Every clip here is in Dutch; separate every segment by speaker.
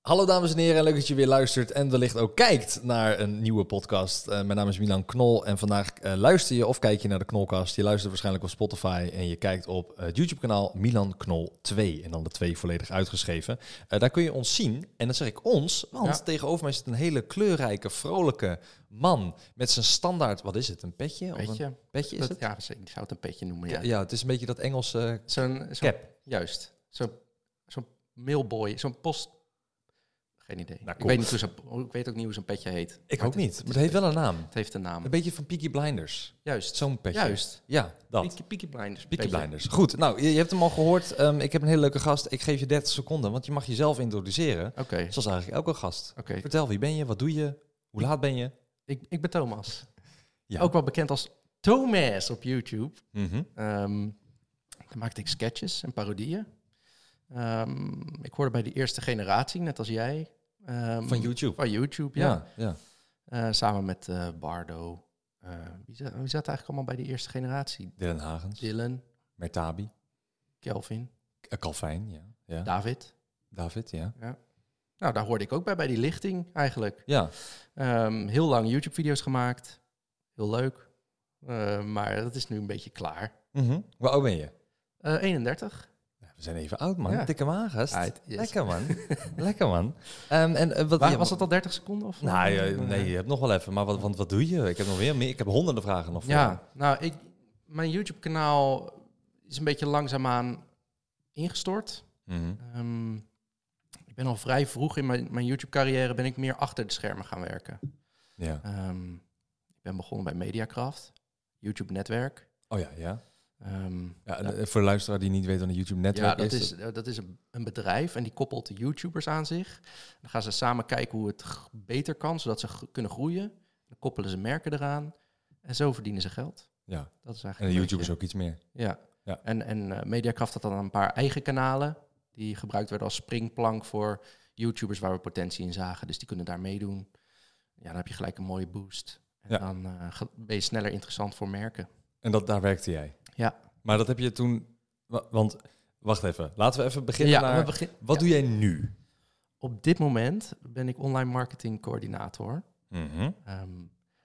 Speaker 1: Hallo dames en heren, en leuk dat je weer luistert en wellicht ook kijkt naar een nieuwe podcast. Eh, mijn naam is Milan Knol en vandaag eh, luister je of kijk je naar de Knolcast. Je luistert waarschijnlijk op Spotify en je kijkt op eh, het YouTube kanaal Milan Knol 2 en dan de 2 volledig uitgeschreven. Eh, daar kun je ons zien en dat zeg ik ons, want
Speaker 2: Ja.
Speaker 1: tegenover mij zit een hele kleurrijke, vrolijke man met zijn standaard, wat is het, een petje? Of
Speaker 2: Petje.
Speaker 1: een petje is
Speaker 2: Dat-
Speaker 1: het?
Speaker 2: ja, ik zou het een petje noemen.
Speaker 1: Ja.
Speaker 2: Ja.
Speaker 1: het is een beetje dat Engelse
Speaker 2: Zo'n, zo'n-
Speaker 1: cap.
Speaker 2: Juist. Zo'n zo'n mailboy, zo'n post... Geen idee.
Speaker 1: Nou,
Speaker 2: ik,
Speaker 1: cool.
Speaker 2: weet niet hoe zo'n- ik weet ook niet hoe zo'n petje heet.
Speaker 1: Ik
Speaker 2: Maar
Speaker 1: ook
Speaker 2: het is-
Speaker 1: niet, maar het heeft wel een naam.
Speaker 2: Het heeft een naam.
Speaker 1: Een beetje van Peaky Blinders.
Speaker 2: Juist.
Speaker 1: Zo'n petje.
Speaker 2: Juist.
Speaker 1: Ja, dat.
Speaker 2: Peaky, Peaky Blinders.
Speaker 1: Peaky
Speaker 2: petje.
Speaker 1: Blinders. Goed, nou, je, je hebt hem al gehoord. Ehm, ik heb een hele leuke gast. Ik geef je 30 seconden, want je mag jezelf introduceren.
Speaker 2: Oké.
Speaker 1: Zoals eigenlijk elke gast.
Speaker 2: Oké.
Speaker 1: Vertel, wie ben je? Wat doe je? Hoe laat ben je?
Speaker 2: Ik, ik ben Thomas.
Speaker 1: Ja.
Speaker 2: Ook wel bekend als Thomas op YouTube.
Speaker 1: Mhm.
Speaker 2: Ehm, dan maakte ik sketches en parodieën. Ehm, ik hoorde bij de eerste generatie, net als jij. Ehm,
Speaker 1: Van YouTube.
Speaker 2: Van YouTube, ja.
Speaker 1: Ja, ja.
Speaker 2: Eh, samen met eh, Bardo. Eh, wie, zat, wie zat eigenlijk allemaal bij de eerste generatie?
Speaker 1: Dylan Hagens.
Speaker 2: Dylan,
Speaker 1: Mertabi.
Speaker 2: Kelvin,
Speaker 1: eh, Calvijn, ja. ja.
Speaker 2: David.
Speaker 1: David, ja.
Speaker 2: Nou, daar hoorde ik ook bij, bij die lichting eigenlijk.
Speaker 1: Ja,
Speaker 2: Ehm, heel lang YouTube-video's gemaakt. Heel leuk. Eh, maar dat is nu een beetje klaar.
Speaker 1: Mhm. hoe oud ben je?
Speaker 2: Eh, 31.
Speaker 1: Ja, We zijn even oud, man.
Speaker 2: Ja.
Speaker 1: Dikke wagens.
Speaker 2: Uit, yes.
Speaker 1: Lekker, man. Lekker, man. Ehm, en eh, wat
Speaker 2: Wa-
Speaker 1: ja,
Speaker 2: was dat al 30 seconden? Of?
Speaker 1: Nou, ja, nee, je hebt nog wel even. Maar wat, want wat doe je? Ik heb nog weer meer. Ik heb honderden vragen nog. voor je.
Speaker 2: Ja, nou, ik, mijn YouTube-kanaal is een beetje langzaamaan ingestort.
Speaker 1: Mhm.
Speaker 2: Ehm, ik ben al vrij vroeg in mijn, mijn YouTube-carrière ben ik meer achter de schermen gaan werken.
Speaker 1: ja.
Speaker 2: Ehm, ik ben begonnen bij Mediacraft, YouTube-netwerk.
Speaker 1: Oh ja, ja.
Speaker 2: Ehm,
Speaker 1: Ja, en, eh, Voor de luisteraar die niet weet wat een
Speaker 2: ja,
Speaker 1: YouTube-netwerk
Speaker 2: dat
Speaker 1: is.
Speaker 2: is, eh, dat is een, een bedrijf en die koppelt de YouTubers aan zich. Dan gaan ze samen kijken hoe het g- beter kan, zodat ze g- kunnen groeien. Dan koppelen ze merken eraan en zo verdienen ze geld.
Speaker 1: Ja,
Speaker 2: Dat is
Speaker 1: en
Speaker 2: eigenlijk
Speaker 1: de
Speaker 2: een
Speaker 1: YouTubers
Speaker 2: beetje-
Speaker 1: ook iets meer.
Speaker 2: Ja.
Speaker 1: Ja.
Speaker 2: En, en eh, Mediakraft had dan een paar eigen kanalen. Die gebruikt werden als springplank voor YouTubers waar we potentie in zagen. Dus die kunnen daar meedoen. Ja, dan heb je gelijk een mooie boost. En
Speaker 1: Ja.
Speaker 2: dan eh, ge- ben je sneller interessant voor merken.
Speaker 1: En dat, daar werkte jij.
Speaker 2: Ja.
Speaker 1: Maar dat heb je toen... wa- Want, wacht even. Laten we even beginnen
Speaker 2: ja,
Speaker 1: naar...
Speaker 2: we begin-
Speaker 1: Wat
Speaker 2: ja.
Speaker 1: doe jij nu?
Speaker 2: Op dit moment ben ik online marketing coördinator ehm,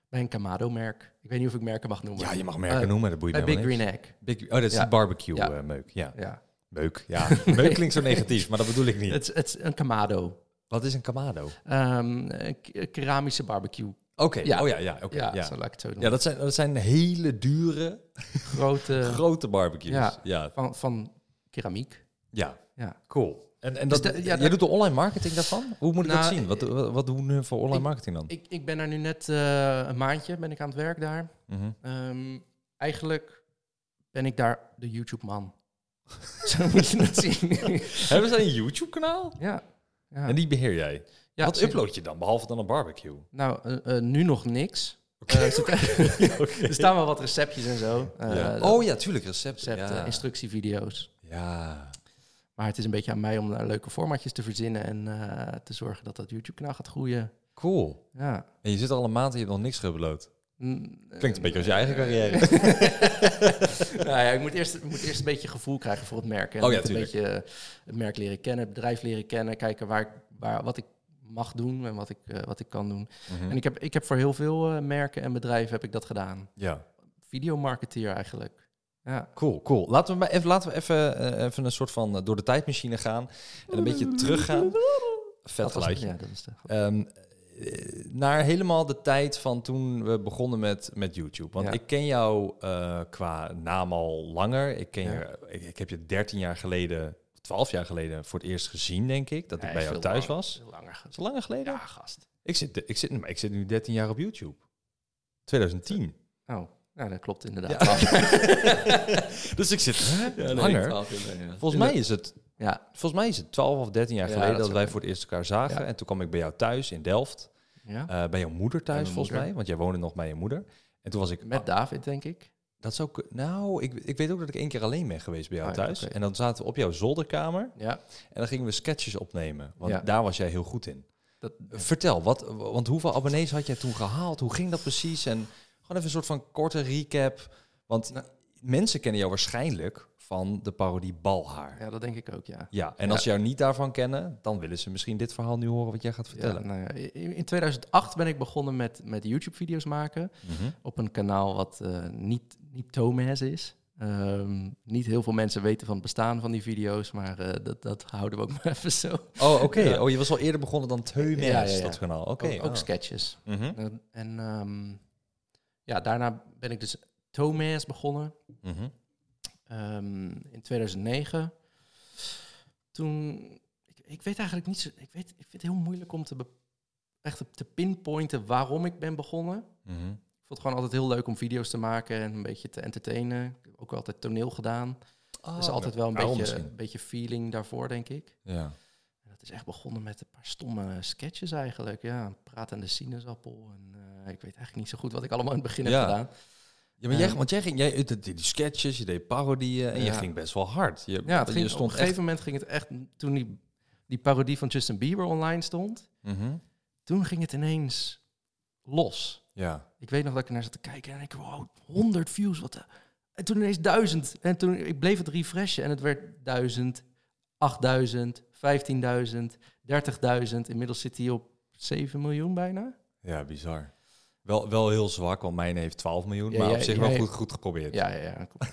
Speaker 2: bij een Kamado-merk. Ik weet niet of ik merken mag noemen.
Speaker 1: Ja, je mag merken
Speaker 2: Eh,
Speaker 1: noemen, dat boeit me
Speaker 2: Bij Big
Speaker 1: helemaal
Speaker 2: Green Egg.
Speaker 1: niks. Big, oh, dat is
Speaker 2: Ja.
Speaker 1: die barbecue
Speaker 2: Ja.
Speaker 1: eh, meuk. Ja.
Speaker 2: Ja.
Speaker 1: Meuk, ja. Meuk klinkt zo negatief, maar dat bedoel ik niet.
Speaker 2: Het, is- het is een Kamado.
Speaker 1: Wat is een kamado? Oké,
Speaker 2: Ehm, een k- een keramische barbecue. Ja.
Speaker 1: oh ja, ja, oké.
Speaker 2: ja,
Speaker 1: ja.
Speaker 2: Zo,
Speaker 1: Ja.
Speaker 2: laat ik het zo noemen.
Speaker 1: dat zijn, dat zijn hele dure,
Speaker 2: Grote,
Speaker 1: grote barbecues. Ja.
Speaker 2: Ja.
Speaker 1: Ja.
Speaker 2: van, van keramiek. Ja.
Speaker 1: cool. En, en
Speaker 2: Dus
Speaker 1: dat,
Speaker 2: da- ja,
Speaker 1: jij
Speaker 2: dat-
Speaker 1: doet de online marketing daarvan? Hoe moet ik dat
Speaker 2: Nou,
Speaker 1: zien? Wat, wat, wat doen we voor online
Speaker 2: ik-
Speaker 1: marketing dan?
Speaker 2: Ik, ik ben daar nu net eh, een maandje ben ik aan het werk daar.
Speaker 1: Mhm.
Speaker 2: Ehm, eigenlijk ben ik daar de YouTube-man. Zo moet je dat zien.
Speaker 1: Hebben ze een YouTube-kanaal?
Speaker 2: ja. ja.
Speaker 1: En die beheer jij.
Speaker 2: ja,
Speaker 1: Wat
Speaker 2: zeker.
Speaker 1: upload je dan, behalve dan een barbecue?
Speaker 2: Nou, eh, eh, nu nog niks.
Speaker 1: Oké.
Speaker 2: Eh, er- er staan wel wat receptjes en zo. Eh,
Speaker 1: Ja.
Speaker 2: dat-
Speaker 1: Oh ja, tuurlijk, recepten.
Speaker 2: Recepten,
Speaker 1: ja.
Speaker 2: instructievideo's.
Speaker 1: ja.
Speaker 2: Maar het is een beetje aan mij om daar leuke formatjes te verzinnen en eh, te zorgen dat dat YouTube-kanaal gaat groeien.
Speaker 1: cool.
Speaker 2: Ja.
Speaker 1: En je zit al een maand en je hebt nog niks geüpload.
Speaker 2: Mm,
Speaker 1: Klinkt een beetje als je eigen carrière.
Speaker 2: Nou ja, ik moet eerst, ik moet eerst een beetje gevoel krijgen voor het merk. En
Speaker 1: Oh ja,
Speaker 2: een
Speaker 1: tuurlijk.
Speaker 2: beetje eh, het merk leren kennen, het bedrijf leren kennen. Kijken waar, ik- waar, wat ik mag doen en wat ik, eh, wat ik kan doen. En
Speaker 1: Mhm.
Speaker 2: ik heb, ik heb voor heel veel eh, merken en bedrijven heb ik dat gedaan.
Speaker 1: Ja,
Speaker 2: Videomarketeer eigenlijk. Ja.
Speaker 1: cool, cool. Laten we, maar even, laten we even, eh, even een soort van eh, door de tijdmachine gaan. En een beetje teruggaan. Vet
Speaker 2: Dat was,
Speaker 1: geluidje.
Speaker 2: ja, dat was de,
Speaker 1: Ehm, eh, naar helemaal de tijd van toen we begonnen met, met YouTube. Want
Speaker 2: Ja.
Speaker 1: ik ken jou eh, qua naam al langer. Ik, ken
Speaker 2: Ja.
Speaker 1: je, ik, ik heb je 13 jaar geleden, 12 jaar geleden voor het eerst gezien, denk ik. Dat ik
Speaker 2: Nee,
Speaker 1: bij jou
Speaker 2: veel
Speaker 1: thuis
Speaker 2: langer.
Speaker 1: was.
Speaker 2: Veel langer. ge-
Speaker 1: Is het langer geleden?
Speaker 2: Ja, gast.
Speaker 1: Ik, zit, ik, zit, maar ik zit nu 13 jaar op YouTube. 2010.
Speaker 2: Oh, nou, dat klopt
Speaker 1: Ja.
Speaker 2: inderdaad.
Speaker 1: dus ik zit langer. Volgens mij is het
Speaker 2: Ja.
Speaker 1: Volgens mij is het 12 of 13 jaar
Speaker 2: Ja,
Speaker 1: geleden
Speaker 2: dat
Speaker 1: dat
Speaker 2: zou
Speaker 1: wij
Speaker 2: kunnen.
Speaker 1: voor het eerst elkaar zagen.
Speaker 2: Ja.
Speaker 1: En toen kwam ik bij jou thuis in Delft.
Speaker 2: ja.
Speaker 1: Eh, bij jouw moeder thuis,
Speaker 2: mijn
Speaker 1: volgens
Speaker 2: moeder.
Speaker 1: mij. Want jij woonde nog bij je moeder. En toen was ik... ah,
Speaker 2: Met David, denk ik.
Speaker 1: Dat zou kun- Nou, ik, ik weet ook dat ik één keer alleen ben geweest bij jou
Speaker 2: Ah, ja,
Speaker 1: thuis.
Speaker 2: oké.
Speaker 1: En dan zaten we op jouw zolderkamer
Speaker 2: Ja.
Speaker 1: en dan gingen we sketches opnemen. Want
Speaker 2: Ja.
Speaker 1: daar was jij heel goed in.
Speaker 2: Dat,
Speaker 1: Vertel, wat, want hoeveel abonnees had jij toen gehaald? Hoe ging dat precies? En gewoon even een soort van korte recap. Want
Speaker 2: Nou.
Speaker 1: mensen kennen jou waarschijnlijk van de parodie Balhaar.
Speaker 2: Ja, dat denk ik ook, ja.
Speaker 1: Ja, en als ze jou niet daarvan kennen, dan willen ze misschien dit verhaal nu horen wat jij gaat
Speaker 2: Ja,
Speaker 1: vertellen.
Speaker 2: nou ja, in in 2008 ben ik begonnen met, met YouTube-video's maken.
Speaker 1: Mhm.
Speaker 2: Op een kanaal wat eh, niet, niet Tomaz is. Ehm, niet heel veel mensen weten van het bestaan van die video's, maar eh, dat, dat houden we ook maar even zo.
Speaker 1: Oh, oké.
Speaker 2: Ja.
Speaker 1: Oh, je was al eerder begonnen dan Teumens,
Speaker 2: Ja, ja, ja.
Speaker 1: dat kanaal. Oké.
Speaker 2: ook, ook
Speaker 1: ah.
Speaker 2: sketches.
Speaker 1: Mhm,
Speaker 2: En, en, ehm, ja, daarna ben ik dus Tomaz begonnen.
Speaker 1: mhm.
Speaker 2: Ehm, in 2009. Toen, ik, ik weet eigenlijk niet zo, ik, weet, ik vind het heel moeilijk om te, be- echt te- te pinpointen waarom ik ben begonnen.
Speaker 1: Mhm.
Speaker 2: Ik vond het gewoon altijd heel leuk om video's te maken en een beetje te entertainen. Ik heb ook altijd toneel gedaan.
Speaker 1: Ah,
Speaker 2: Er is altijd
Speaker 1: oké.
Speaker 2: wel een
Speaker 1: Daarom
Speaker 2: beetje, een
Speaker 1: misschien.
Speaker 2: beetje feeling daarvoor, denk ik.
Speaker 1: Ja.
Speaker 2: En dat is echt begonnen met een paar stomme sketches eigenlijk. Ja, een pratende sinaasappel. En, eh, ik weet eigenlijk niet zo goed wat ik allemaal in het begin
Speaker 1: Ja.
Speaker 2: heb gedaan.
Speaker 1: Ja, maar jij,
Speaker 2: Ehm,
Speaker 1: want jij ging, jij deed die sketches, je deed parodieën en je
Speaker 2: Ja.
Speaker 1: ging best wel hard. Je,
Speaker 2: Ja, het ging,
Speaker 1: je
Speaker 2: op een
Speaker 1: stond
Speaker 2: gegeven
Speaker 1: echt.
Speaker 2: moment ging het echt... Toen die, die parodie van Justin Bieber online stond...
Speaker 1: Mhm.
Speaker 2: toen ging het ineens los.
Speaker 1: Ja.
Speaker 2: Ik weet nog dat ik naar zat te kijken en ik wow, 100 views, wat de... En toen ineens 1000. En toen ik bleef het refreshen en het werd 1000, 8000, 15.000, 30.000. Inmiddels zit hij op 7 miljoen bijna.
Speaker 1: ja, bizar. Wel, wel heel zwak, want mijn heeft 12 miljoen,
Speaker 2: Ja,
Speaker 1: maar op
Speaker 2: jij-
Speaker 1: zich
Speaker 2: jij-
Speaker 1: wel goed, goed geprobeerd.
Speaker 2: Ja, ja, ja. kom.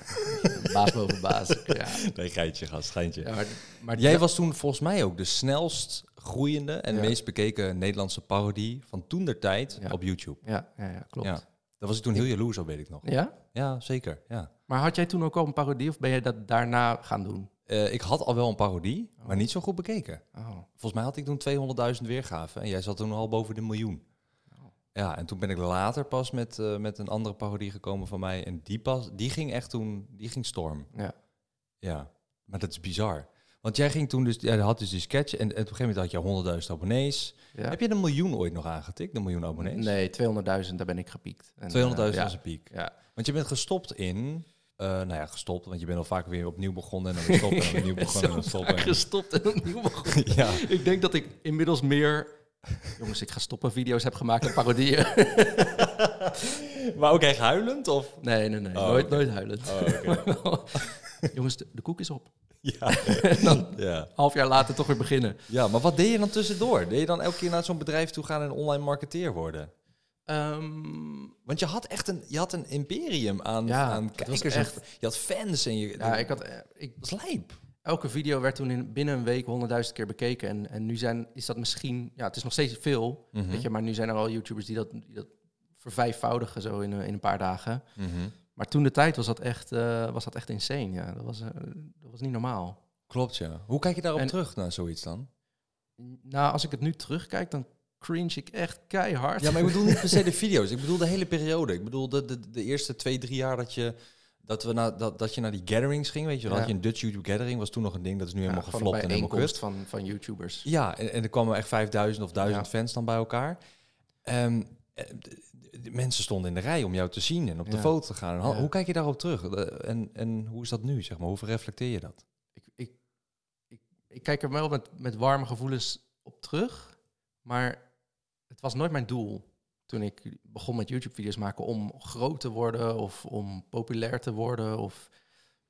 Speaker 2: baas boven baas. Ja.
Speaker 1: Nee, geitje, gast, schijntje.
Speaker 2: Ja, maar, maar
Speaker 1: Jij was toen volgens mij ook de snelst groeiende en
Speaker 2: Ja.
Speaker 1: meest bekeken Nederlandse parodie van toen der tijd
Speaker 2: Ja.
Speaker 1: op YouTube.
Speaker 2: Ja, ja, ja klopt.
Speaker 1: Ja. Daar was ik toen heel jaloers op, weet ik nog.
Speaker 2: ja?
Speaker 1: Ja, zeker. Ja.
Speaker 2: Maar had jij toen ook al een parodie of ben jij dat daarna gaan doen?
Speaker 1: Eh, ik had al wel een parodie, maar niet zo goed bekeken.
Speaker 2: Oh.
Speaker 1: Volgens mij had ik toen 200.000 weergaven en jij zat toen al boven de miljoen.
Speaker 2: Oh.
Speaker 1: Ja, en toen ben ik later pas met, eh, met een andere parodie gekomen van mij. En die, pas, die ging echt toen, die ging storm.
Speaker 2: Ja.
Speaker 1: Ja, maar dat is bizar. Want jij ging toen dus, jij had dus die sketch en, en op een gegeven moment had je 100.000 abonnees.
Speaker 2: ja.
Speaker 1: Heb je een miljoen ooit nog aangetikt, een miljoen abonnees?
Speaker 2: Nee, 200.000, daar ben ik gepiekt. En,
Speaker 1: 200.000
Speaker 2: eh, ja.
Speaker 1: was een piek.
Speaker 2: Ja.
Speaker 1: Want je bent gestopt in, eh, nou ja, gestopt, want je bent al vaak weer opnieuw begonnen en dan weer stoppen en dan opnieuw begonnen en dan stoppen.
Speaker 2: vaak gestopt en opnieuw begonnen.
Speaker 1: Ja.
Speaker 2: Ik denk dat ik inmiddels meer... Jongens, ik ga stoppen video's heb gemaakt en parodieën.
Speaker 1: Maar ook echt huilend? Of?
Speaker 2: Nee, nee, nee.
Speaker 1: Oh,
Speaker 2: nooit,
Speaker 1: oké.
Speaker 2: nooit huilend. Jongens, de, de koek is op.
Speaker 1: Ja.
Speaker 2: En dan
Speaker 1: ja.
Speaker 2: half jaar later toch weer beginnen.
Speaker 1: ja, maar wat deed je dan tussendoor? Deed je dan elke keer naar zo'n bedrijf toe gaan en online marketeer worden?
Speaker 2: Ehm,
Speaker 1: Want je had echt een, je had een imperium aan,
Speaker 2: Ja,
Speaker 1: aan
Speaker 2: het was
Speaker 1: kijkers. en
Speaker 2: echt-
Speaker 1: f- je had fans en je...
Speaker 2: ja, ik had, eh, ik,
Speaker 1: Dat is lijp.
Speaker 2: elke video werd toen in, binnen een week honderdduizend keer bekeken. En, en nu zijn, is dat misschien... Ja, het is nog steeds veel.
Speaker 1: Mhm,
Speaker 2: Weet je, maar nu zijn er al YouTubers die dat, die dat vervijfvoudigen zo in, een- in een paar dagen.
Speaker 1: Mhm.
Speaker 2: Maar toen de tijd was dat echt, eh, was dat echt insane. Ja, dat was, eh, dat was niet normaal.
Speaker 1: Klopt, ja. Hoe kijk je daarop
Speaker 2: En-
Speaker 1: terug naar zoiets dan?
Speaker 2: Nou, als ik het nu terugkijk, dan cringe ik echt keihard.
Speaker 1: Ja, maar ik bedoel niet per se de video's. Ik bedoel de hele periode. Ik bedoel de, de, de eerste twee, drie jaar dat je... Dat, we na, dat, dat je naar die gatherings ging, weet je wel.
Speaker 2: Ja.
Speaker 1: Dat je een Dutch YouTube gathering was toen nog een ding. Dat is nu helemaal
Speaker 2: Ja, gewoon
Speaker 1: geflopt en helemaal kut.
Speaker 2: bijeenkomst van, van YouTubers.
Speaker 1: Ja, en, en er kwamen echt 5000 of 1000
Speaker 2: Ja.
Speaker 1: fans dan bij elkaar. Ehm, eh, de, de mensen stonden in de rij om jou te zien en op de
Speaker 2: Ja.
Speaker 1: foto te gaan. En ho-
Speaker 2: Ja.
Speaker 1: Hoe kijk je daarop terug? Eh, En, en hoe is dat nu, zeg maar? Hoe reflecteer je dat?
Speaker 2: Ik, ik, ik, ik kijk er wel met, met warme gevoelens op terug. Maar het was nooit mijn doel toen ik begon met YouTube-video's maken om groot te worden of om populair te worden of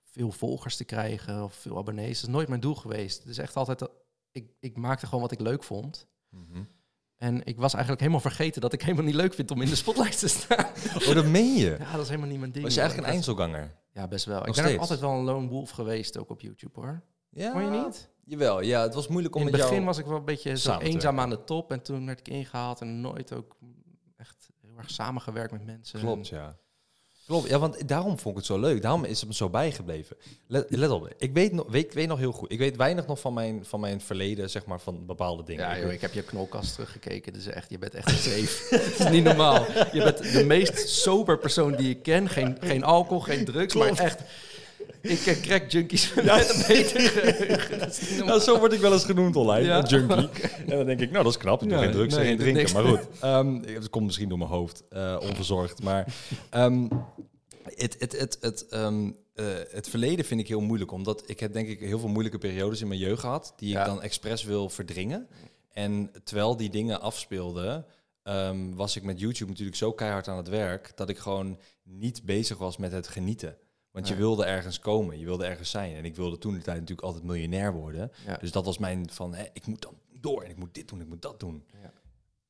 Speaker 2: veel volgers te krijgen of veel abonnees. Dat is nooit mijn doel geweest. Het is echt altijd, dat- ik, ik maakte gewoon wat ik leuk vond. Mhm. En ik was eigenlijk helemaal vergeten dat ik helemaal niet leuk vind om in de spotlight te staan.
Speaker 1: Oh, dat meen je?
Speaker 2: Ja, dat is helemaal niet mijn ding.
Speaker 1: Was je
Speaker 2: joh.
Speaker 1: eigenlijk een
Speaker 2: Ik
Speaker 1: eindselganger?
Speaker 2: was- Ja, best wel. ik ben
Speaker 1: Nog
Speaker 2: ook
Speaker 1: steeds?
Speaker 2: altijd wel een lone wolf geweest, ook op YouTube hoor.
Speaker 1: Ja.
Speaker 2: Kon je niet?
Speaker 1: Jawel, ja. Het was moeilijk om
Speaker 2: in het
Speaker 1: met
Speaker 2: begin
Speaker 1: jou...
Speaker 2: was ik wel een beetje zo
Speaker 1: samen te
Speaker 2: eenzaam aan de top. En toen werd ik ingehaald en nooit ook echt heel erg samengewerkt met mensen.
Speaker 1: Klopt, ja. eh, Klopt, ja, want daarom vond ik het zo leuk. Daarom is het me zo bijgebleven. Let, let op, ik weet, nog, weet, ik weet nog heel goed. Ik weet weinig nog van mijn, van mijn verleden, zeg maar, van bepaalde dingen.
Speaker 2: Ja,
Speaker 1: Ik
Speaker 2: joh, ik heb je knolkast teruggekeken. Dus echt, je bent echt een safe. Het is niet normaal. Je bent de meest sober persoon die ik ken. Geen, geen alcohol, geen drugs, maar echt... Ik ken crack junkies met een beter geheugen. Dat is niet normaal.
Speaker 1: Nou, zo word ik wel eens genoemd online,
Speaker 2: Ja.
Speaker 1: een junkie. En dan denk ik, nou, dat is knap. Ik doe
Speaker 2: Ja,
Speaker 1: geen drugs en
Speaker 2: nee,
Speaker 1: geen
Speaker 2: doe
Speaker 1: drinken.
Speaker 2: niks.
Speaker 1: Maar goed, Ehm, het komt misschien door mijn hoofd, eh, onverzorgd. Maar ehm, het, het, het, het, ehm, eh, het verleden vind ik heel moeilijk. Omdat ik heb denk ik heel veel moeilijke periodes in mijn jeugd gehad... die
Speaker 2: Ja.
Speaker 1: ik dan expres wil verdringen. En terwijl die dingen afspeelden... ehm, was ik met YouTube natuurlijk zo keihard aan het werk... dat ik gewoon niet bezig was met het genieten. Want
Speaker 2: Ja.
Speaker 1: je wilde ergens komen, je wilde ergens zijn. En ik wilde toen de tijd natuurlijk altijd miljonair worden.
Speaker 2: Ja.
Speaker 1: Dus dat was mijn van, hè, ik moet dan door en ik moet dit doen, ik moet dat doen.
Speaker 2: Ja.
Speaker 1: Ah,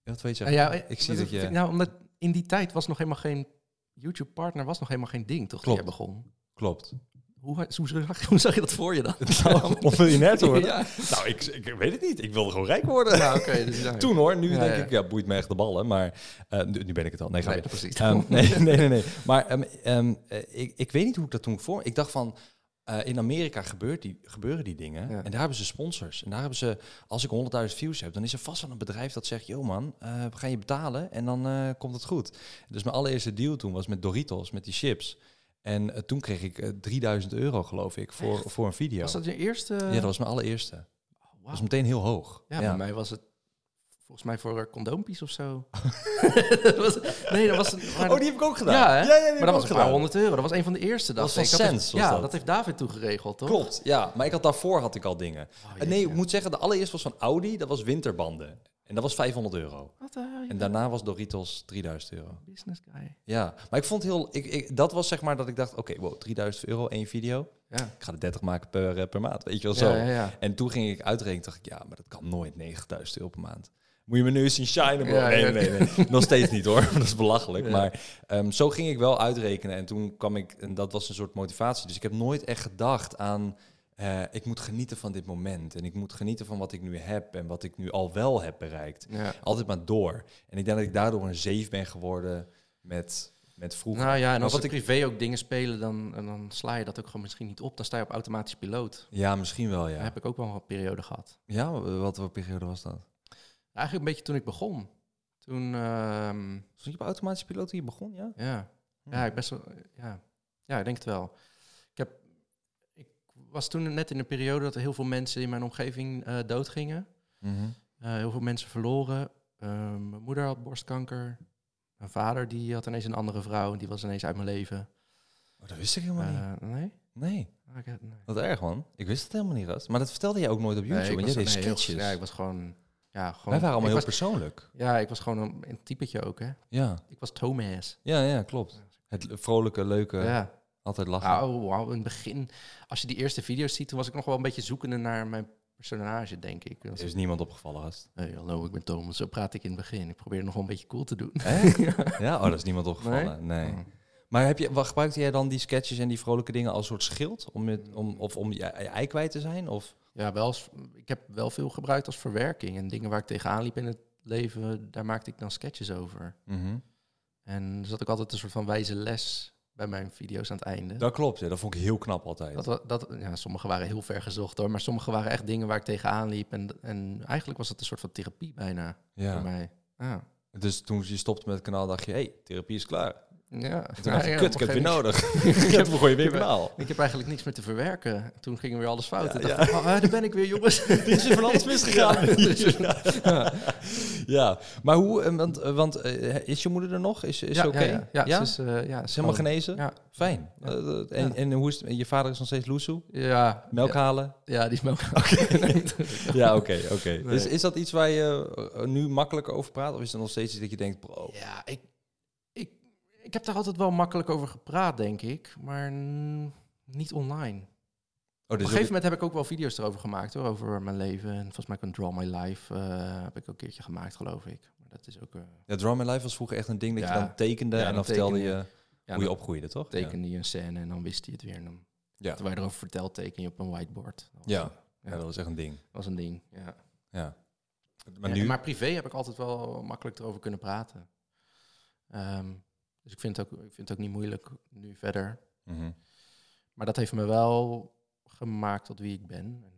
Speaker 1: Wat weet je?
Speaker 2: Nou ja,
Speaker 1: ik zie dat je...
Speaker 2: Nou, omdat in die tijd was nog helemaal geen... YouTube-partner was nog helemaal geen ding, toch?
Speaker 1: Klopt.
Speaker 2: Toen jij begon.
Speaker 1: Klopt.
Speaker 2: Hoe, hoe, zag, hoe zag je dat voor je dan?
Speaker 1: Nou, om miljonair te worden?
Speaker 2: Ja.
Speaker 1: Nou, ik, ik weet het niet. Ik wilde gewoon rijk worden.
Speaker 2: Ja, oké. dus daar-
Speaker 1: Toen hoor, nu
Speaker 2: Ja,
Speaker 1: denk
Speaker 2: ja.
Speaker 1: ik, ja, boeit me echt de ballen. Maar eh, nu, nu ben ik het al. Nee, ga
Speaker 2: Nee,
Speaker 1: weer.
Speaker 2: precies.
Speaker 1: Ehm, nee, nee, nee, nee. Maar ehm, ehm, eh, ik, ik weet niet hoe ik dat toen voor. Ik dacht van. eh, in Amerika gebeurt die, gebeuren die dingen.
Speaker 2: Ja.
Speaker 1: En daar hebben ze sponsors. En daar hebben ze, als ik 100.000 views heb, dan is er vast wel een bedrijf dat zegt: Yo man, eh, we gaan je betalen en dan eh, komt het goed. Dus mijn allereerste deal toen was met Doritos, met die chips. En eh, toen kreeg ik eh, 3000 euro, geloof ik, voor, voor een video.
Speaker 2: Was dat je eerste?
Speaker 1: Ja, dat was mijn allereerste.
Speaker 2: Oh,
Speaker 1: Dat
Speaker 2: wauw.
Speaker 1: was meteen heel hoog.
Speaker 2: Ja, bij mij was het volgens mij voor eh, condoompjes of zo. Dat was- nee, dat was... maar
Speaker 1: Oh, die heb ik ook gedaan.
Speaker 2: Ja, hè?
Speaker 1: ja, die heb
Speaker 2: maar
Speaker 1: ik
Speaker 2: dat
Speaker 1: ook
Speaker 2: was een paar
Speaker 1: gedaan.
Speaker 2: honderd euro. Dat was een van de eerste.
Speaker 1: Dat
Speaker 2: dacht
Speaker 1: was
Speaker 2: ik.
Speaker 1: van
Speaker 2: Dat
Speaker 1: Cents,
Speaker 2: heeft-
Speaker 1: was
Speaker 2: Ja,
Speaker 1: dat.
Speaker 2: dat heeft David toen geregeld, toch?
Speaker 1: Klopt, ja. Maar ik had daarvoor had ik al dingen. Eh,
Speaker 2: Oh, jeetje.
Speaker 1: nee, ik moet zeggen, de allereerst was van Audi, dat was winterbanden. En dat was 500 euro.
Speaker 2: Wat de hell, je
Speaker 1: En daarna was Doritos 3000 euro.
Speaker 2: business guy.
Speaker 1: Ja, maar ik vond heel... Ik, ik, dat was zeg maar dat ik dacht, oké, wow, 3000 euro, één video.
Speaker 2: Ja.
Speaker 1: Ik ga er 30 maken per, eh, per maand, weet je wel zo.
Speaker 2: Ja, ja, ja.
Speaker 1: En toen ging ik uitrekenen, dacht ik, ja, maar dat kan nooit 9000 euro per maand. Moet je me nu eens zien shinen, bro?
Speaker 2: Ja,
Speaker 1: nee,
Speaker 2: ja.
Speaker 1: nee, nee, nee. Nog steeds niet, hoor. Dat is belachelijk.
Speaker 2: Ja.
Speaker 1: Maar ehm, zo ging ik wel uitrekenen. En toen kwam ik... En dat was een soort motivatie. Dus ik heb nooit echt gedacht aan... eh, ik moet genieten van dit moment. En ik moet genieten van wat ik nu heb. En wat ik nu al wel heb bereikt.
Speaker 2: Ja.
Speaker 1: Altijd maar door. En ik denk dat ik daardoor een zeef ben geworden met, met vroeger.
Speaker 2: Nou ja, en
Speaker 1: Maar
Speaker 2: als
Speaker 1: wat
Speaker 2: ik privé ook dingen spelen, dan, en dan sla je dat ook gewoon misschien niet op. Dan sta je op automatisch piloot.
Speaker 1: Ja, misschien wel,
Speaker 2: Daar
Speaker 1: ja.
Speaker 2: heb ik ook wel een periode gehad.
Speaker 1: Ja, wat voor periode was dat?
Speaker 2: Eigenlijk een beetje toen ik begon. Toen, ehm,
Speaker 1: Stond je op automatische piloot toen je begon, ja?
Speaker 2: Ja,
Speaker 1: Hm.
Speaker 2: ja, ik best wel, ja. ja, ik denk het wel. Ik, heb, ik was toen net in een periode dat er heel veel mensen in mijn omgeving eh, doodgingen. Eh, heel veel mensen verloren. Eh, mijn moeder had borstkanker. Mijn vader die had ineens een andere vrouw en die was ineens uit mijn leven.
Speaker 1: Oh, dat wist ik helemaal niet.
Speaker 2: Eh, nee?
Speaker 1: Nee.
Speaker 2: Ah, ik, nee.
Speaker 1: Wat erg, man. Ik wist het helemaal niet, Rast. Maar dat vertelde jij ook nooit op YouTube.
Speaker 2: Nee, ik
Speaker 1: want
Speaker 2: was-
Speaker 1: jij deed
Speaker 2: nee, heel-
Speaker 1: sketches.
Speaker 2: Ja, ik was gewoon... Ja, gewoon
Speaker 1: Wij waren allemaal
Speaker 2: ik
Speaker 1: heel
Speaker 2: was,
Speaker 1: persoonlijk.
Speaker 2: Ja, ik was gewoon een, een typetje ook, hè.
Speaker 1: Ja.
Speaker 2: Ik was Thomas.
Speaker 1: ja, ja, klopt. Het le- vrolijke, leuke,
Speaker 2: ja.
Speaker 1: altijd lachen.
Speaker 2: Nou, wauw, in het begin, als je die eerste video's ziet, toen was ik nog wel een beetje zoekende naar mijn personage, denk ik.
Speaker 1: Er
Speaker 2: Als-
Speaker 1: is niemand opgevallen, Rast.
Speaker 2: hey, hallo, ik ben Thomas. Zo praat ik in het begin. Ik probeer nog wel een beetje cool te doen.
Speaker 1: Echt? ja, oh, dat is niemand opgevallen. Nee.
Speaker 2: Oh.
Speaker 1: Maar heb je, wat, gebruikte jij dan die sketches en die vrolijke dingen als soort schild? Om het, om, of om je, je ei kwijt te zijn? Of?
Speaker 2: Ja, wel als, ik heb wel veel gebruikt als verwerking. En dingen waar ik tegenaan liep in het leven, daar maakte ik dan sketches over.
Speaker 1: Mhm.
Speaker 2: En er zat ook altijd een soort van wijze les bij mijn video's aan het einde.
Speaker 1: Dat klopt, ja. Dat vond ik heel knap altijd.
Speaker 2: Dat, wa- dat, ja, sommige waren heel ver gezocht hoor, maar sommige waren echt dingen waar ik tegenaan liep. En, en eigenlijk was het een soort van therapie bijna voor
Speaker 1: ja.
Speaker 2: mij. Ja.
Speaker 1: Dus toen je stopte met het kanaal, dacht je, hé, hey, therapie is klaar. En
Speaker 2: Ja,
Speaker 1: toen
Speaker 2: Nou
Speaker 1: dacht je,
Speaker 2: ja,
Speaker 1: kut, ik
Speaker 2: op
Speaker 1: heb
Speaker 2: een
Speaker 1: je
Speaker 2: gegeven
Speaker 1: nodig. ik heb een goede weer
Speaker 2: Ik heb-
Speaker 1: kanaal.
Speaker 2: Ik heb eigenlijk niks meer te verwerken. Toen ging weer alles fout.
Speaker 1: Ja,
Speaker 2: Ik dacht, oh, ah, daar ben ik weer, jongens.
Speaker 1: Er is hier van alles misgegaan. Ja, maar hoe, eh, want, eh, want eh, is je moeder er nog? Is, is ze oké?
Speaker 2: Ja, ja, ja, ze is, eh, ja, ze
Speaker 1: Is
Speaker 2: is
Speaker 1: helemaal
Speaker 2: gewoon-
Speaker 1: genezen?
Speaker 2: Ja,
Speaker 1: Fijn.
Speaker 2: Ja.
Speaker 1: Eh, eh, en,
Speaker 2: Ja.
Speaker 1: en hoe is het? Je vader is nog steeds loesoe?
Speaker 2: ja,
Speaker 1: Melk
Speaker 2: ja,
Speaker 1: halen?
Speaker 2: ja, die is melk.
Speaker 1: Ja, oké, oké. Is,
Speaker 2: Nee.
Speaker 1: is dat iets waar je eh, nu makkelijker over praat? Of is het nog steeds iets dat je denkt, bro...
Speaker 2: Ja, ik, ik, ik heb daar altijd wel makkelijk over gepraat, denk ik. Maar mm, niet online.
Speaker 1: Oh, dus
Speaker 2: Op een gegeven moment heb ik ook wel video's erover gemaakt, hoor. Over mijn leven. En volgens mij kan Draw My Life eh, heb ik ook een keertje gemaakt, geloof ik. Maar dat is ook... eh,
Speaker 1: Ja, Drum and Life was vroeger echt een ding dat je
Speaker 2: Ja.
Speaker 1: dan tekende...
Speaker 2: Ja,
Speaker 1: en dan
Speaker 2: dan
Speaker 1: vertelde je
Speaker 2: tekende ja,
Speaker 1: hoe je
Speaker 2: dan
Speaker 1: opgroeide, toch?
Speaker 2: tekende je een scène en dan wist hij het weer. En dan,
Speaker 1: Ja.
Speaker 2: Terwijl je erover vertelt, teken je op een whiteboard. Dat was-
Speaker 1: Ja. Ja.
Speaker 2: Ja.
Speaker 1: Ja, dat was echt een ding.
Speaker 2: was een ding, ja.
Speaker 1: Ja. Maar
Speaker 2: Maar,
Speaker 1: nu...
Speaker 2: maar privé heb ik altijd wel makkelijk erover kunnen praten. Ehm, dus ik vind, het ook, ik vind het ook niet moeilijk nu verder.
Speaker 1: Mhm.
Speaker 2: Maar dat heeft me wel gemaakt tot wie ik ben. En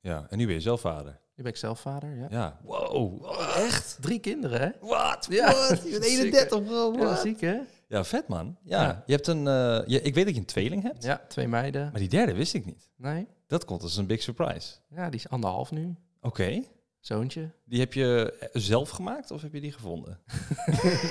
Speaker 1: Ja, en nu ben je zelf vader.
Speaker 2: nu ben ik zelf vader, ja.
Speaker 1: Ja. Wow, echt?
Speaker 2: Drie kinderen, hè?
Speaker 1: Wat?
Speaker 2: Ja.
Speaker 1: Wat? Je bent
Speaker 2: Zeker.
Speaker 1: 31, bro.
Speaker 2: Ja,
Speaker 1: Wat?
Speaker 2: ziek, hè?
Speaker 1: Ja, vet man. Ja,
Speaker 2: Ja.
Speaker 1: je hebt een. eh, je, ik weet dat je een tweeling hebt,
Speaker 2: Ja, twee meiden.
Speaker 1: maar die derde wist ik niet.
Speaker 2: Nee,
Speaker 1: Dat komt als een big surprise.
Speaker 2: ja, die is anderhalf nu.
Speaker 1: Oké.
Speaker 2: Zoontje.
Speaker 1: Die heb je eh, zelf gemaakt of heb je die gevonden?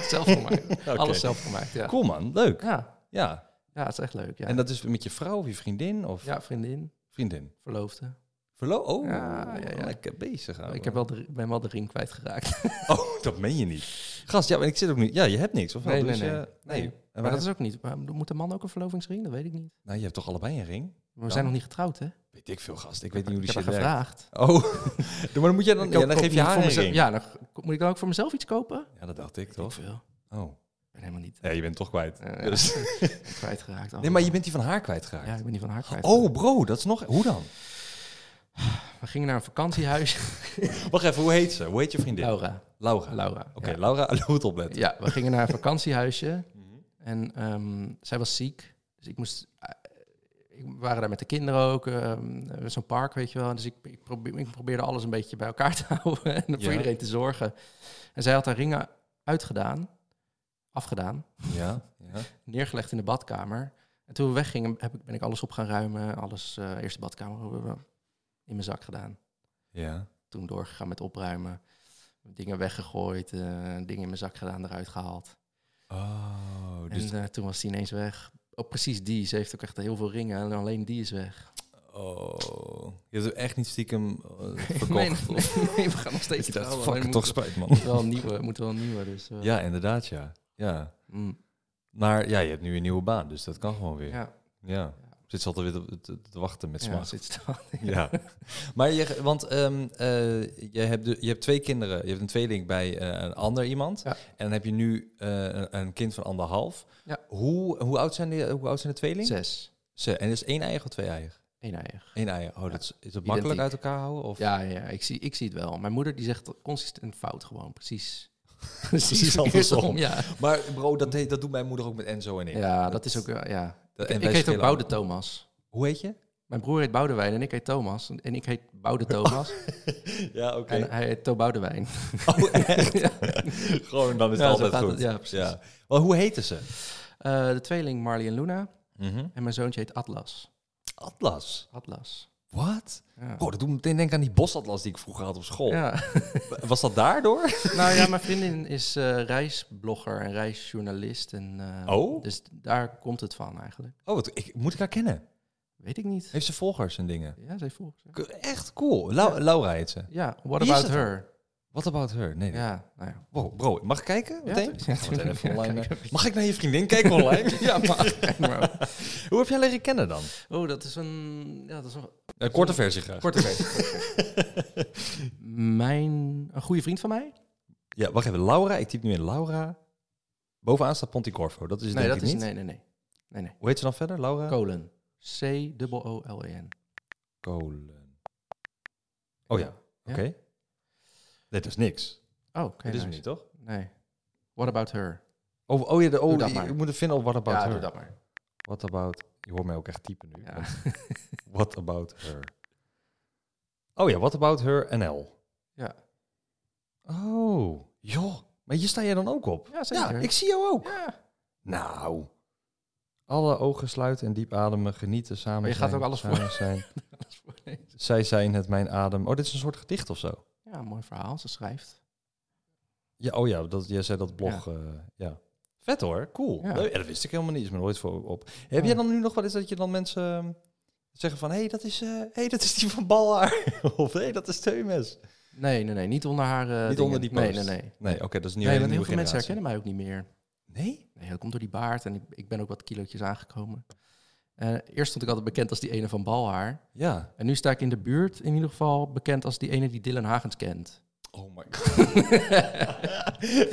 Speaker 2: zelf gemaakt.
Speaker 1: Oké.
Speaker 2: Alles zelf gemaakt, ja.
Speaker 1: Cool man, leuk.
Speaker 2: Ja,
Speaker 1: Ja.
Speaker 2: ja, het is echt leuk, ja.
Speaker 1: En dat is met je vrouw of je vriendin of
Speaker 2: Ja, vriendin,
Speaker 1: vriendin?
Speaker 2: verloofde.
Speaker 1: Verlo oh,
Speaker 2: Ja, ja, ja.
Speaker 1: lekker bezig. ouwe.
Speaker 2: ik heb wel de, ben wel de ring kwijtgeraakt.
Speaker 1: Oh, dat meen je niet. Gast, ja, maar ik zit ook niet. Ja, je hebt niks. Of wel?
Speaker 2: Nee, nee,
Speaker 1: Dus,
Speaker 2: nee.
Speaker 1: eh,
Speaker 2: Nee.
Speaker 1: En
Speaker 2: Maar
Speaker 1: waar-
Speaker 2: dat is ook niet. Maar moet de man ook een verlovingsring? Dat weet ik niet.
Speaker 1: Nou, je hebt toch allebei een ring?
Speaker 2: We
Speaker 1: Ja.
Speaker 2: zijn nog niet getrouwd, hè?
Speaker 1: Weet ik veel, gast. Ik weet niet
Speaker 2: Ik
Speaker 1: hoe die
Speaker 2: heb haar
Speaker 1: shit werkt.
Speaker 2: gevraagd.
Speaker 1: Oh, doe maar dan moet jij dan,
Speaker 2: Ik
Speaker 1: ja,
Speaker 2: ook-
Speaker 1: dan
Speaker 2: ook
Speaker 1: geef je
Speaker 2: niet
Speaker 1: haar
Speaker 2: voor
Speaker 1: een
Speaker 2: mezelf-
Speaker 1: ring.
Speaker 2: Ja, dan g- moet ik dan ook voor mezelf iets kopen?
Speaker 1: Ja, dat dacht ik
Speaker 2: Weet Ik
Speaker 1: toch?
Speaker 2: veel.
Speaker 1: Oh,
Speaker 2: Ik ben helemaal niet
Speaker 1: ja, je bent toch kwijt.
Speaker 2: eh,
Speaker 1: Dus.
Speaker 2: kwijtgeraakt.
Speaker 1: Nee, maar je bent die van haar kwijtgeraakt.
Speaker 2: Ja, ik ben niet van haar kwijt.
Speaker 1: Oh, bro, dat is nog. Hoe dan?
Speaker 2: We gingen naar een vakantiehuis.
Speaker 1: Wacht even, hoe heet ze? Hoe heet je vriendin?
Speaker 2: Laura.
Speaker 1: Laura.
Speaker 2: Laura.
Speaker 1: Oké, Laura, je moet opletten.
Speaker 2: Ja, we gingen naar een vakantiehuisje.
Speaker 1: Mhm.
Speaker 2: En ehm, zij was ziek. Dus ik moest. eh, ik- we waren daar met de kinderen ook. ehm, Zo'n park, weet je wel. Dus ik, ik, probeer, ik probeerde alles een beetje bij elkaar te houden. En voor
Speaker 1: Ja.
Speaker 2: iedereen te zorgen. En zij had haar ringen uitgedaan. Afgedaan.
Speaker 1: Ja, ja.
Speaker 2: Neergelegd in de badkamer. En toen we weggingen, heb ik, ben ik alles op gaan ruimen. Alles, eh eerst de badkamer eh, in mijn zak gedaan.
Speaker 1: ja.
Speaker 2: Toen doorgegaan met opruimen. Dingen weggegooid. eh, dingen in mijn zak gedaan, eruit gehaald.
Speaker 1: Oh,
Speaker 2: En
Speaker 1: dus.
Speaker 2: eh, toen was die ineens weg. Oh, precies die. Ze heeft ook echt heel veel ringen en alleen die is weg.
Speaker 1: Oh. Je hebt hem echt niet stiekem eh, verkocht.
Speaker 2: Nee,
Speaker 1: of-
Speaker 2: nee, nee, we gaan
Speaker 1: Dat
Speaker 2: nog steeds
Speaker 1: je dacht,
Speaker 2: trouwen.
Speaker 1: fuck,
Speaker 2: Nee, we
Speaker 1: toch
Speaker 2: moeten-
Speaker 1: spijt, man.
Speaker 2: moeten wel een nieuwe, moeten wel een nieuwe. Dus, eh,
Speaker 1: Ja, inderdaad, ja. Ja.
Speaker 2: mm,
Speaker 1: Maar ja, je hebt nu een nieuwe baan, dus dat kan gewoon weer. Ja.
Speaker 2: ja,
Speaker 1: Zit ze altijd weer te, te- te wachten met
Speaker 2: ja,
Speaker 1: smaak.
Speaker 2: zit ze dan.
Speaker 1: Ja. Maar je, want ehm, eh, je, hebt de, je hebt twee kinderen. Je hebt een tweeling bij eh, een ander iemand.
Speaker 2: Ja.
Speaker 1: En dan heb je nu eh, een, een kind van anderhalf.
Speaker 2: Ja.
Speaker 1: Hoe, hoe, oud zijn die, hoe oud zijn de tweeling?
Speaker 2: Zes.
Speaker 1: Ze. En is één eier of twee eier?
Speaker 2: Eén eier.
Speaker 1: Eén eier. Oh, dat is, is dat makkelijk
Speaker 2: Identiek.
Speaker 1: uit elkaar houden? Of?
Speaker 2: Ja, ja ik, zie, ik zie het wel. Mijn moeder die zegt consistent fout gewoon. Precies.
Speaker 1: Precies andersom.
Speaker 2: Ja,
Speaker 1: Maar bro, dat, deed- dat doet mijn moeder ook met Enzo en ik.
Speaker 2: ja dat is ook... wel- Ja.
Speaker 1: Dat- en
Speaker 2: Ik
Speaker 1: wij
Speaker 2: heet ook
Speaker 1: schelen
Speaker 2: Boude Thomas.
Speaker 1: Hoe heet je?
Speaker 2: Mijn broer heet Boudewijn en ik heet Thomas. En ik heet Boude Thomas
Speaker 1: Ja, oké.
Speaker 2: en hij heet To Boudewijn.
Speaker 1: Oh, echt? Gewoon, dan is
Speaker 2: Ja, zo
Speaker 1: het altijd
Speaker 2: gaat
Speaker 1: goed.
Speaker 2: het. Ja, precies.
Speaker 1: Ja. Maar hoe heten ze?
Speaker 2: Eh, de tweeling Marley en Luna. En mijn zoontje heet Atlas.
Speaker 1: Atlas.
Speaker 2: Atlas.
Speaker 1: Wat?
Speaker 2: Ja.
Speaker 1: Oh, dat doet me meteen denken aan die bosatlas die ik vroeger had op school.
Speaker 2: Ja.
Speaker 1: Was dat daardoor?
Speaker 2: nou ja, mijn vriendin is eh, reisblogger en reisjournalist. En, eh,
Speaker 1: Oh.
Speaker 2: Dus daar komt het van eigenlijk.
Speaker 1: Oh, wat, ik, moet ik haar kennen?
Speaker 2: Weet ik niet.
Speaker 1: Heeft ze volgers en dingen?
Speaker 2: Ja, ze heeft volgens
Speaker 1: K- Echt cool. Lau- Laura heet ze.
Speaker 2: Ja, what
Speaker 1: Wie is
Speaker 2: about
Speaker 1: dat dan?
Speaker 2: her?
Speaker 1: What about her? Nee. nee.
Speaker 2: Ja, nou ja.
Speaker 1: Wow, bro, mag ik kijken meteen?
Speaker 2: tuurlijk. Ja,
Speaker 1: Gaan we meteen even
Speaker 2: tuurlijk. Ja,
Speaker 1: online, eh,
Speaker 2: kijk even.
Speaker 1: Mag ik naar je vriendin kijken online?
Speaker 2: ja, maar- kijk maar. op.
Speaker 1: Hoe heb jij haar leren kennen dan?
Speaker 2: Oh, dat is een... Ja, dat is een
Speaker 1: Een Eh, korte versie graag.
Speaker 2: korte versie. Mijn... Een goede vriend van
Speaker 1: Dus
Speaker 2: mij?
Speaker 1: Ja, wacht even. Laura, ik typ nu in Laura. Bovenaan staat Ponticorvo. Dat is het
Speaker 2: nee,
Speaker 1: denk
Speaker 2: dat
Speaker 1: ik
Speaker 2: is...
Speaker 1: niet.
Speaker 2: Nee, nee, nee. Nee, nee.
Speaker 1: Hoe heet ze dan verder? Laura?
Speaker 2: Kolen. C-O-O-L-E-N.
Speaker 1: Kolen. Oh ja, oké.
Speaker 2: Ja.
Speaker 1: Nee, dat is niks.
Speaker 2: Oh, oké.
Speaker 1: dat is hem
Speaker 2: nice.
Speaker 1: niet, toch?
Speaker 2: Nee. What about her?
Speaker 1: Oh, oh ja, de, oh,
Speaker 2: dat
Speaker 1: je-
Speaker 2: maar.
Speaker 1: je moet het vinden op What About
Speaker 2: ja,
Speaker 1: Her.
Speaker 2: doe dat maar.
Speaker 1: What About... Je hoort mij ook echt typen nu.
Speaker 2: Ja.
Speaker 1: want What About Her. Oh ja, What About Her NL.
Speaker 2: Ja.
Speaker 1: Oh, joh. Maar hier sta jij dan ook op?
Speaker 2: Ja, zeker.
Speaker 1: ik zie jou ook.
Speaker 2: Ja.
Speaker 1: Nou. Alle ogen sluiten en diep ademen, genieten, samen
Speaker 2: Maar je gaat
Speaker 1: zijn,
Speaker 2: ook alles
Speaker 1: samen zijn. Zij zijn het, mijn adem. Oh, dit is een soort gedicht of zo.
Speaker 2: Ja, mooi verhaal. Ze schrijft.
Speaker 1: Ja, oh ja, dat, jij zei dat blog. Ja. ja. Vet hoor, cool.
Speaker 2: Ja.
Speaker 1: Leuk. Ja, dat wist ik helemaal niet, is me nooit voor op. Heb jij dan nu nog wel eens dat je dan mensen ehm, zeggen van... hé, hey, dat, is, eh, hey, dat is die van Balhaar. of hé, hey, dat is Teumes.
Speaker 2: Nee, nee, nee. Niet onder haar. eh,
Speaker 1: Niet
Speaker 2: dingen.
Speaker 1: onder die
Speaker 2: Nee,
Speaker 1: post.
Speaker 2: nee, nee.
Speaker 1: Nee, oké, dat is nu
Speaker 2: Nee,
Speaker 1: een
Speaker 2: want
Speaker 1: nieuwe
Speaker 2: heel veel mensen
Speaker 1: generatie.
Speaker 2: herkennen mij ook niet meer.
Speaker 1: Nee?
Speaker 2: Nee, dat komt door die baard en ik, ik ben ook wat kilootjes aangekomen. Eh, eerst stond ik altijd bekend als die ene van Balhaar.
Speaker 1: Ja.
Speaker 2: En nu sta ik in de buurt in ieder geval bekend als die ene die Dylan Hagens kent.
Speaker 1: Oh my god.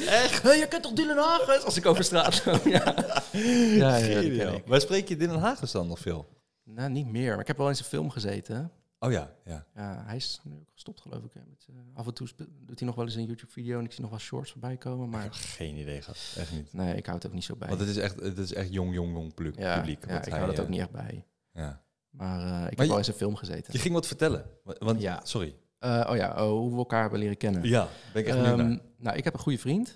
Speaker 2: Echt? Hé, je kent toch Dylan Hagens? Als ik over straat loop, ja. Ja, ja, die ken
Speaker 1: Geniaal.
Speaker 2: ik.
Speaker 1: Maar spreek je Den Haag dan nog veel?
Speaker 2: Nou, niet meer. Maar ik heb wel eens een film gezeten.
Speaker 1: Oh ja, ja.
Speaker 2: Ja, hij is nu ook gestopt, geloof ik. hè, met, eh, af en toe spe- doet hij nog wel eens een YouTube-video en ik zie nog wel shorts voorbij komen. Maar
Speaker 1: Geen idee, gast. Echt niet.
Speaker 2: nee, ik houd het ook niet zo bij.
Speaker 1: Want het is echt, het is echt jong, jong, jong plu-
Speaker 2: ja,
Speaker 1: publiek.
Speaker 2: ja,
Speaker 1: wat
Speaker 2: ik
Speaker 1: hij,
Speaker 2: hou dat
Speaker 1: eh,
Speaker 2: ook niet echt bij.
Speaker 1: Ja.
Speaker 2: Maar eh, ik
Speaker 1: je-
Speaker 2: heb wel eens een film gezeten.
Speaker 1: Je ging wat vertellen. wa- Want,
Speaker 2: Ja.
Speaker 1: Sorry.
Speaker 2: Eh, oh ja, oh, hoe we elkaar hebben leren kennen.
Speaker 1: Ja, ben ik echt benieuwd
Speaker 2: Ehm,
Speaker 1: naar.
Speaker 2: nou, ik heb een goede vriend.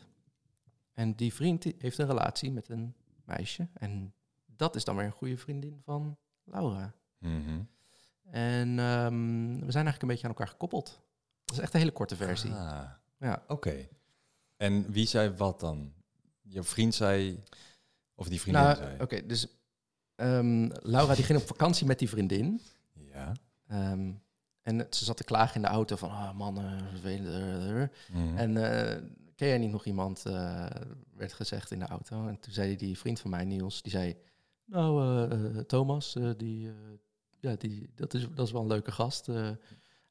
Speaker 2: En die vriend die heeft een relatie met een meisje. En dat is dan weer een goede vriendin van Laura.
Speaker 1: Mhm.
Speaker 2: En ehm, we zijn eigenlijk een beetje aan elkaar gekoppeld. Dat is echt een hele korte versie.
Speaker 1: Ah,
Speaker 2: Ja.
Speaker 1: oké. En wie zei wat dan? Je vriend zei, of die vriendin
Speaker 2: nou,
Speaker 1: zei?
Speaker 2: oké, dus ehm, Laura die ging op vakantie met die vriendin.
Speaker 1: Ja.
Speaker 2: Ehm, en ze zat te klagen in de auto van, ah man, eh, vervelend. eh, eh, eh."
Speaker 1: Mhm.
Speaker 2: En eh, ken jij niet nog iemand, eh, werd gezegd in de auto. En toen zei die vriend van mij, Niels, die zei... Nou, eh, eh, Thomas, eh, die, eh, ja, die, dat, is, dat is wel een leuke gast. eh.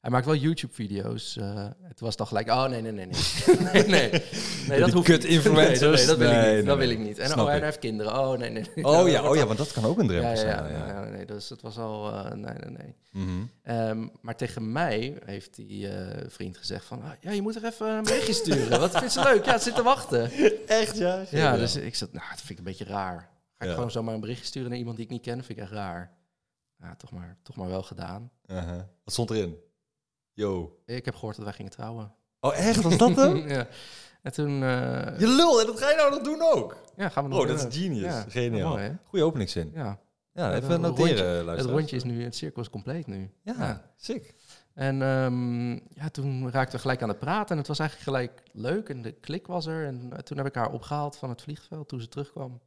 Speaker 2: hij maakt wel YouTube-video's. eh." het was dan gelijk, oh nee, nee, nee, nee. nee, nee. nee
Speaker 1: Die
Speaker 2: dat hoeft
Speaker 1: kut
Speaker 2: niet.
Speaker 1: influencers.
Speaker 2: Nee, nee, dat wil ik
Speaker 1: Nee, nee,
Speaker 2: niet.
Speaker 1: nee.
Speaker 2: dat wil ik niet. En
Speaker 1: Snap
Speaker 2: oh, en
Speaker 1: ik.
Speaker 2: hij heeft kinderen. Oh, nee, nee. nee.
Speaker 1: Oh ja,
Speaker 2: dat
Speaker 1: oh ja,
Speaker 2: wordt
Speaker 1: want dat kan ook een
Speaker 2: dan-
Speaker 1: drempel
Speaker 2: ja, ja,
Speaker 1: zijn.
Speaker 2: ja,
Speaker 1: Ja.
Speaker 2: ja, nee, dat, is, dat was al, eh, nee, nee, nee.
Speaker 1: Mhm.
Speaker 2: Ehm, maar tegen mij heeft die eh, vriend gezegd van... "Ah, ja, je moet er even een berichtje sturen. Wat vindt ze leuk? Ja, het zit te wachten.
Speaker 1: Echt, ja?
Speaker 2: Ja, dus ik zat... Nou, dat vind ik een beetje raar. Ga ik
Speaker 1: Ja.
Speaker 2: gewoon zomaar een berichtje sturen naar iemand die ik niet ken? vind ik echt raar. Ja, toch maar, toch maar wel gedaan.
Speaker 1: Aha. Wat stond erin? Yo.
Speaker 2: Ik heb gehoord dat wij gingen trouwen.
Speaker 1: Oh, echt? Was dat hem?
Speaker 2: ja. En toen... eh,
Speaker 1: Je lul, en dat ga je nou nog doen ook.
Speaker 2: ja, gaan we nog
Speaker 1: Oh, dat
Speaker 2: doen.
Speaker 1: is genius.
Speaker 2: Ja,
Speaker 1: Geniaal.
Speaker 2: mooi, hè?
Speaker 1: Goeie openingszin.
Speaker 2: Ja,
Speaker 1: Ja,
Speaker 2: Ja,
Speaker 1: even
Speaker 2: dat
Speaker 1: noteren,
Speaker 2: het
Speaker 1: luisteraars.
Speaker 2: rondje is nu... Het cirkel is compleet nu.
Speaker 1: Ja, sick.
Speaker 2: En ehm, ja, toen raakten we gelijk aan het praten. En het was eigenlijk gelijk leuk. En de klik was er. En eh, toen heb ik haar opgehaald van het vliegveld toen ze terugkwam.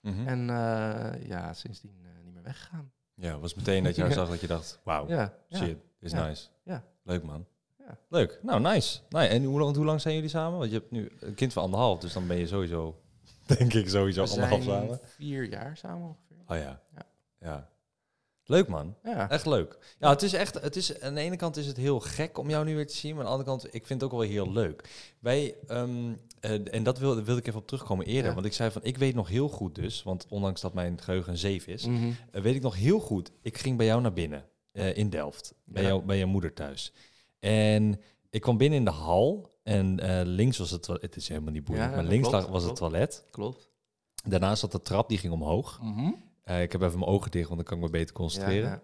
Speaker 1: Mhm.
Speaker 2: En eh, ja, sindsdien eh, niet meer weggegaan.
Speaker 1: Ja, was meteen dat je haar zag dat je dacht, wauw,
Speaker 2: Ja, ja.
Speaker 1: shit, is
Speaker 2: Ja.
Speaker 1: nice.
Speaker 2: Ja.
Speaker 1: Leuk, man.
Speaker 2: Ja.
Speaker 1: Leuk. Nou, nice. Nou, en hoe, lang- hoe lang zijn jullie samen? Want je hebt nu een kind van anderhalf, dus dan ben je sowieso, denk ik, sowieso
Speaker 2: we
Speaker 1: anderhalf
Speaker 2: zijn
Speaker 1: samen.
Speaker 2: vier jaar samen ongeveer.
Speaker 1: Oh ja.
Speaker 2: Ja.
Speaker 1: Ja. Leuk, man.
Speaker 2: Ja,
Speaker 1: Echt leuk. Ja, het is echt, het is, aan de ene kant is het heel gek om jou nu weer te zien, maar aan de andere kant, ik vind het ook wel heel leuk. Wij, ehm, eh, en dat wilde, wilde ik even op terugkomen eerder,
Speaker 2: Ja.
Speaker 1: want ik zei van, ik weet nog heel goed dus, want ondanks dat mijn geheugen een 7 is,
Speaker 2: Mhm.
Speaker 1: eh, weet ik nog heel goed, ik ging bij jou naar binnen eh, in Delft, bij,
Speaker 2: Ja.
Speaker 1: jou, bij je moeder thuis. En ik kwam binnen in de hal en eh, links was het toilet, het is helemaal niet boeiend,
Speaker 2: Ja,
Speaker 1: maar
Speaker 2: dat
Speaker 1: links
Speaker 2: klopt,
Speaker 1: lag- was het toilet.
Speaker 2: klopt.
Speaker 1: Daarnaast zat de trap, die ging omhoog.
Speaker 2: Mhm.
Speaker 1: Eh, ik heb even mijn ogen dicht, want dan kan ik me beter
Speaker 2: Ja,
Speaker 1: concentreren.
Speaker 2: ja.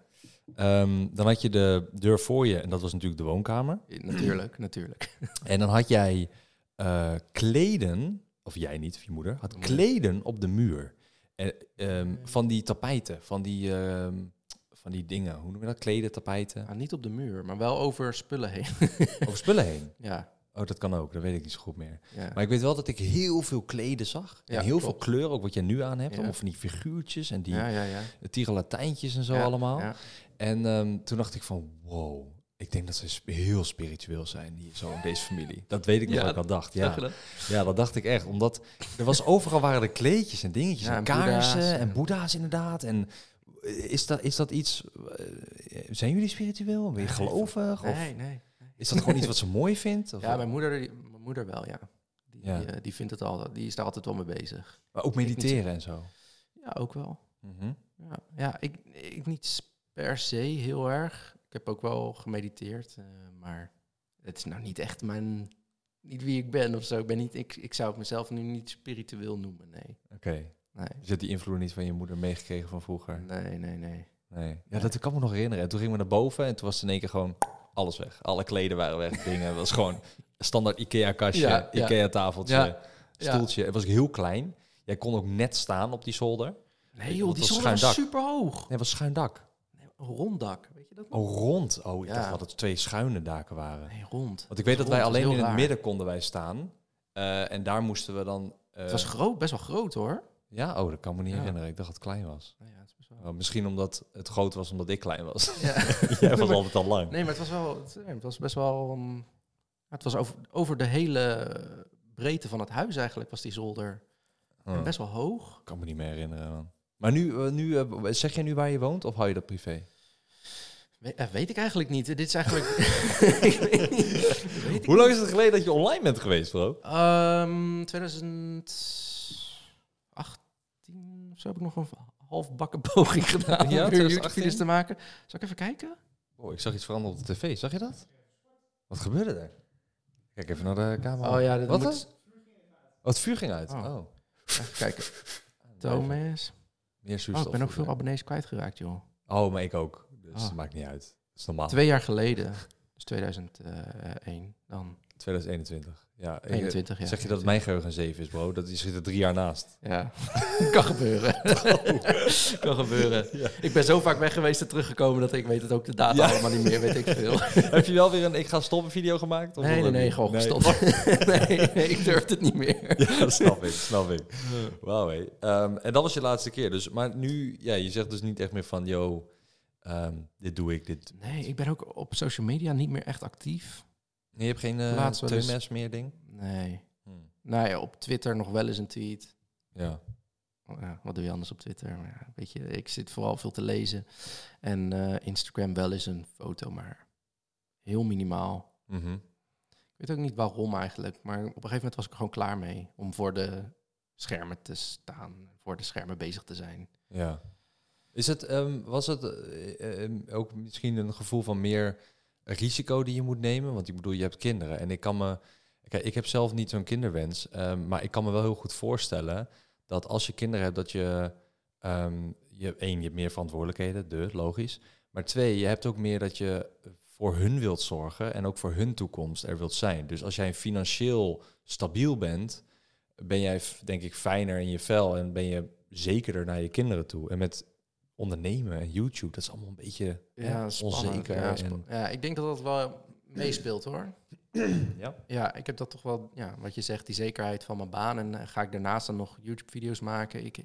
Speaker 1: Ehm, dan had je de deur voor je en dat was natuurlijk de woonkamer.
Speaker 2: Natuurlijk, natuurlijk.
Speaker 1: En dan had jij eh, kleden, of jij niet, of je moeder, had
Speaker 2: Nee.
Speaker 1: kleden op de muur. En, ehm,
Speaker 2: Nee.
Speaker 1: van die tapijten, van die, ehm, van die dingen, hoe noem je dat? Kleden, tapijten,
Speaker 2: Nou, niet op de muur, maar wel over spullen heen.
Speaker 1: over spullen heen.
Speaker 2: ja,
Speaker 1: Oh, dat kan ook, dat weet ik niet zo goed meer.
Speaker 2: ja.
Speaker 1: Maar ik weet wel dat ik heel veel kleden zag. En
Speaker 2: Ja,
Speaker 1: heel veel
Speaker 2: klopt.
Speaker 1: kleur, ook wat jij nu aan hebt.
Speaker 2: Ja.
Speaker 1: Allemaal van die figuurtjes en die
Speaker 2: ja, ja, ja.
Speaker 1: tierenlatijntjes en zo
Speaker 2: Ja,
Speaker 1: allemaal.
Speaker 2: ja.
Speaker 1: En ehm, toen dacht ik van, wow, ik denk dat ze sp- heel spiritueel zijn, hier zo in deze familie. Dat weet ik nog
Speaker 2: Ja,
Speaker 1: wat ik al dacht. Ja.
Speaker 2: Zag je dat?
Speaker 1: ja, dat dacht ik echt. Omdat er was overal waren er kleedjes en dingetjes
Speaker 2: Ja,
Speaker 1: en,
Speaker 2: en
Speaker 1: kaarsen
Speaker 2: boeddha's
Speaker 1: en
Speaker 2: en-
Speaker 1: boeddha's inderdaad. En is dat, is dat iets, eh, zijn jullie spiritueel? Ben je gelovig? Of
Speaker 2: Nee, nee.
Speaker 1: is dat gewoon iets wat ze mooi vindt? Of
Speaker 2: Ja, mijn moeder, die- mijn moeder wel, ja. Die,
Speaker 1: Ja.
Speaker 2: eh, die vindt het al, die is daar altijd wel mee bezig.
Speaker 1: maar ook mediteren en zo.
Speaker 2: Ja, ook wel.
Speaker 1: Mhm.
Speaker 2: Ja, ja ik, ik niet per se heel erg. Ik heb ook wel gemediteerd, eh, maar het is nou niet echt mijn... Niet wie ik ben of zo. Ik, ben niet, ik, ik zou het mezelf nu niet spiritueel noemen, nee.
Speaker 1: Oké.
Speaker 2: Nee,
Speaker 1: Dus je hebt die invloed niet van je moeder meegekregen van vroeger?
Speaker 2: nee, nee. nee.
Speaker 1: Nee. Ja, dat kan me nog herinneren. En toen gingen we naar boven en toen was in één keer gewoon alles weg. Alle kleden waren weg, dingen. Het was gewoon standaard IKEA-kastje,
Speaker 2: Ja, ja.
Speaker 1: IKEA-tafeltje,
Speaker 2: Ja, ja.
Speaker 1: stoeltje. Het was heel klein. Jij kon ook net staan op die zolder. Nee,
Speaker 2: Nee
Speaker 1: want
Speaker 2: joh,
Speaker 1: het was
Speaker 2: die zon
Speaker 1: schuin dak.
Speaker 2: was super hoog.
Speaker 1: het was schuin dak.
Speaker 2: Rond dak, weet je dat nog?
Speaker 1: Oh, rond. Oh, ik
Speaker 2: Ja.
Speaker 1: dacht dat het twee schuine daken waren.
Speaker 2: Nee, rond.
Speaker 1: Want ik weet dat
Speaker 2: Rond
Speaker 1: wij
Speaker 2: is
Speaker 1: alleen
Speaker 2: heel
Speaker 1: in het
Speaker 2: raar.
Speaker 1: midden konden wij staan. Eh, en daar moesten we dan... eh,
Speaker 2: Het was groot, best wel groot hoor.
Speaker 1: ja, oh, dat kan me niet
Speaker 2: Ja.
Speaker 1: herinneren. Ik dacht dat het klein was.
Speaker 2: Nou ja, het is best wel...
Speaker 1: Oh, misschien omdat het groot was omdat ik klein was.
Speaker 2: Ja.
Speaker 1: Jij was altijd al lang.
Speaker 2: Nee, maar het was wel. Het, nee, het was best wel. um, ja, het was over, over de hele breedte van het huis eigenlijk was die zolder.
Speaker 1: Oh.
Speaker 2: En best wel hoog.
Speaker 1: kan me niet meer herinneren, man. Maar nu, eh, nu eh, zeg jij nu waar je woont of hou je dat privé?
Speaker 2: We- eh, weet ik eigenlijk niet. Dit is eigenlijk. Ik weet niet. Weet ik
Speaker 1: Hoe lang is het geleden dat je online bent geweest, bro?
Speaker 2: Ehm, 2018 of zo heb ik nog een halfbakken poging gedaan
Speaker 1: Ja,
Speaker 2: om
Speaker 1: 2018?
Speaker 2: weer YouTube-video's te maken. Zal ik even kijken?
Speaker 1: Oh, ik zag iets veranderen op de tv. Zag je dat? Wat gebeurde er? Kijk even naar de camera.
Speaker 2: Oh ja, dat
Speaker 1: Wat
Speaker 2: moet-
Speaker 1: dan? Oh, het vuur ging uit.
Speaker 2: Oh.
Speaker 1: Oh.
Speaker 2: Even kijken. Thomas.
Speaker 1: Meer
Speaker 2: Oh,
Speaker 1: zuurstof.
Speaker 2: ik ben ook veel abonnees kwijtgeraakt, joh.
Speaker 1: Oh, maar ik ook. Dus
Speaker 2: Ah.
Speaker 1: dat maakt niet uit. Dat is normaal.
Speaker 2: Twee jaar geleden. Dus 2001 dan.
Speaker 1: 2021. Ja, ik-
Speaker 2: 21 jaar.
Speaker 1: Zeg je dat mijn geheugen een 7 is, bro? Dat is, je zit er drie jaar naast.
Speaker 2: Ja, kan gebeuren.
Speaker 1: Oh.
Speaker 2: kan gebeuren. Ik ben zo vaak weg geweest en teruggekomen dat ik weet het ook de data
Speaker 1: Ja.
Speaker 2: allemaal niet meer, weet ik veel.
Speaker 1: Heb je wel weer een ik ga stoppen video gemaakt? Of
Speaker 2: Nee, nee,
Speaker 1: dat
Speaker 2: nee,
Speaker 1: niet?
Speaker 2: gewoon
Speaker 1: Nee.
Speaker 2: gestopt. nee, nee, ik durf het niet meer.
Speaker 1: Ja, dat snap ik, snap ik. Wauw, hé. Ehm, en dat was je laatste keer. Dus, maar nu, ja, je zegt dus niet echt meer van, yo, ehm, dit doe ik, dit...
Speaker 2: Nee, ik ben ook op social media niet meer echt actief.
Speaker 1: Nee, je hebt geen eh
Speaker 2: Laatst wel eens.
Speaker 1: TMS meer ding?
Speaker 2: Nee.
Speaker 1: Hmm.
Speaker 2: Nou ja, op Twitter nog wel eens een tweet. Oh
Speaker 1: Ja.
Speaker 2: Ja, wat doe je anders op Twitter? Maar ja, weet je, ik zit vooral veel te lezen. En eh, Instagram wel eens een foto, maar heel minimaal.
Speaker 1: Mhm.
Speaker 2: Ik weet ook niet waarom eigenlijk, maar op een gegeven moment was ik er gewoon klaar mee om voor de schermen te staan, voor de schermen bezig te zijn.
Speaker 1: Ja. Is het, ehm, was het eh, ehm, ook misschien een gevoel van meer risico die je moet nemen? Want ik bedoel, je hebt kinderen en ik kan me. Kijk, ik heb zelf niet zo'n kinderwens, ehm, maar ik kan me wel heel goed voorstellen dat als je kinderen hebt, dat je. ehm, je één, je hebt meer verantwoordelijkheden, de, logisch. Maar twee, je hebt ook meer dat je voor hun wilt zorgen en ook voor hun toekomst er wilt zijn. Dus als jij financieel stabiel bent, ben jij, f- denk ik, fijner in je vel en ben je zekerder naar je kinderen toe. En met ondernemen en YouTube, dat is allemaal een beetje hè, onzeker.
Speaker 2: Ja, spa-
Speaker 1: en,
Speaker 2: ja, ik denk dat dat wel meespeelt hoor.
Speaker 1: ja.
Speaker 2: Ja, ik heb dat toch wel, ja, wat je zegt, die zekerheid van mijn baan. En eh, ga ik daarnaast dan nog YouTube-video's maken? Ik,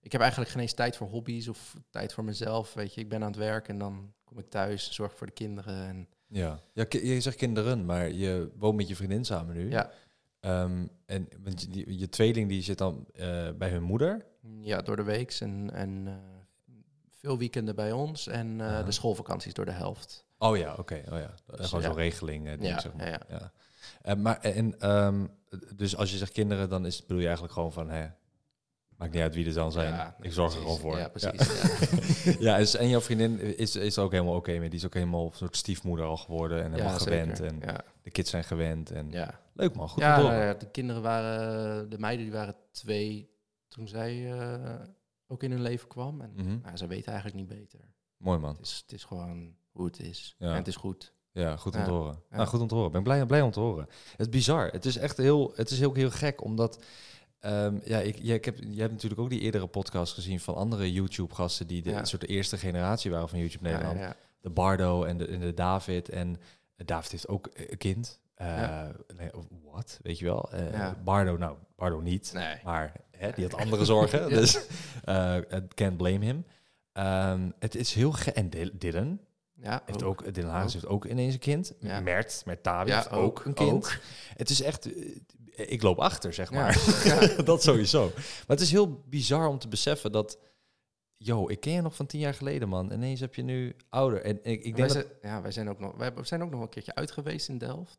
Speaker 2: ik heb eigenlijk geen eens tijd voor hobby's of tijd voor mezelf. Weet je, ik ben aan het werk en dan kom ik thuis, zorg voor de kinderen. En
Speaker 1: Ja. ja, ki- je zegt kinderen, maar je woont met je vriendin samen nu.
Speaker 2: Ja.
Speaker 1: Ehm, en want je, die- je tweeling die zit dan eh, bij hun moeder.
Speaker 2: mm, ja, door de weeks en, en eh, veel weekenden bij ons. En eh,
Speaker 1: Aha.
Speaker 2: de schoolvakanties door de helft.
Speaker 1: Oh ja, oké. Oh ja. Eh, Gewoon
Speaker 2: Dus ja.
Speaker 1: zo'n regeling. eh, ding,
Speaker 2: Ja,
Speaker 1: zeg maar.
Speaker 2: ja, ja.
Speaker 1: Ja. Eh, maar en, ehm, dus als je zegt kinderen, dan is, bedoel je eigenlijk gewoon van, hè, maakt niet uit wie er dan zijn.
Speaker 2: Ja,
Speaker 1: ik zorg er gewoon
Speaker 2: precies.
Speaker 1: voor.
Speaker 2: Ja, precies. Ja.
Speaker 1: Ja, is, en jouw vriendin is, is er ook helemaal oké mee. Die is ook helemaal een soort stiefmoeder al geworden en helemaal
Speaker 2: Ja, zeker.
Speaker 1: gewend. En
Speaker 2: ja,
Speaker 1: de kids zijn gewend. En
Speaker 2: ja.
Speaker 1: Leuk man, goed
Speaker 2: ja,
Speaker 1: te horen.
Speaker 2: nou ja, de kinderen waren, de meiden die waren twee toen zij eh, ook in hun leven kwam. En
Speaker 1: Mhm.
Speaker 2: nou, ze weten eigenlijk niet beter.
Speaker 1: Mooi man.
Speaker 2: Het is, het is gewoon hoe het is.
Speaker 1: Ja.
Speaker 2: En het is goed.
Speaker 1: Ja, goed om
Speaker 2: Ja,
Speaker 1: te horen.
Speaker 2: ja.
Speaker 1: Nou, goed om te horen. Ik ben blij, blij om te horen. Het is bizar. Het is echt heel, het is ook heel gek, omdat... ehm, ja, ik, ja, ik heb, je hebt natuurlijk ook die eerdere podcast gezien van andere YouTube-gasten... die de
Speaker 2: Ja.
Speaker 1: soort eerste generatie waren van YouTube Nederland.
Speaker 2: Ja, ja,
Speaker 1: De Bardo en de, en de David. En David heeft ook een kind. Eh,
Speaker 2: Ja.
Speaker 1: nee, of Wat, weet je wel? Eh,
Speaker 2: Ja.
Speaker 1: Bardo, nou, Bardo niet.
Speaker 2: Nee.
Speaker 1: Maar hè, die had andere zorgen, dus eh can't blame him. Ehm, het is heel ge En Dil- Dylan,
Speaker 2: Ja, oh.
Speaker 1: heeft
Speaker 2: ook.
Speaker 1: ook, Dylan Hagens heeft ook ineens een kind.
Speaker 2: Ja.
Speaker 1: Mert, Mert Tawi
Speaker 2: Ja,
Speaker 1: heeft ook,
Speaker 2: ook,
Speaker 1: een kind.
Speaker 2: ook.
Speaker 1: Het is echt... eh, Ik loop achter, zeg
Speaker 2: Ja.
Speaker 1: maar. dat sowieso. Maar het is heel bizar om te beseffen dat... Yo, ik ken je nog van tien jaar geleden, man. Ineens heb je nu ouder. En ik, ik
Speaker 2: wij,
Speaker 1: denk dat...
Speaker 2: zijn, ja, wij zijn ook nog, wij hebben- zijn ook nog een keertje uit geweest in Delft.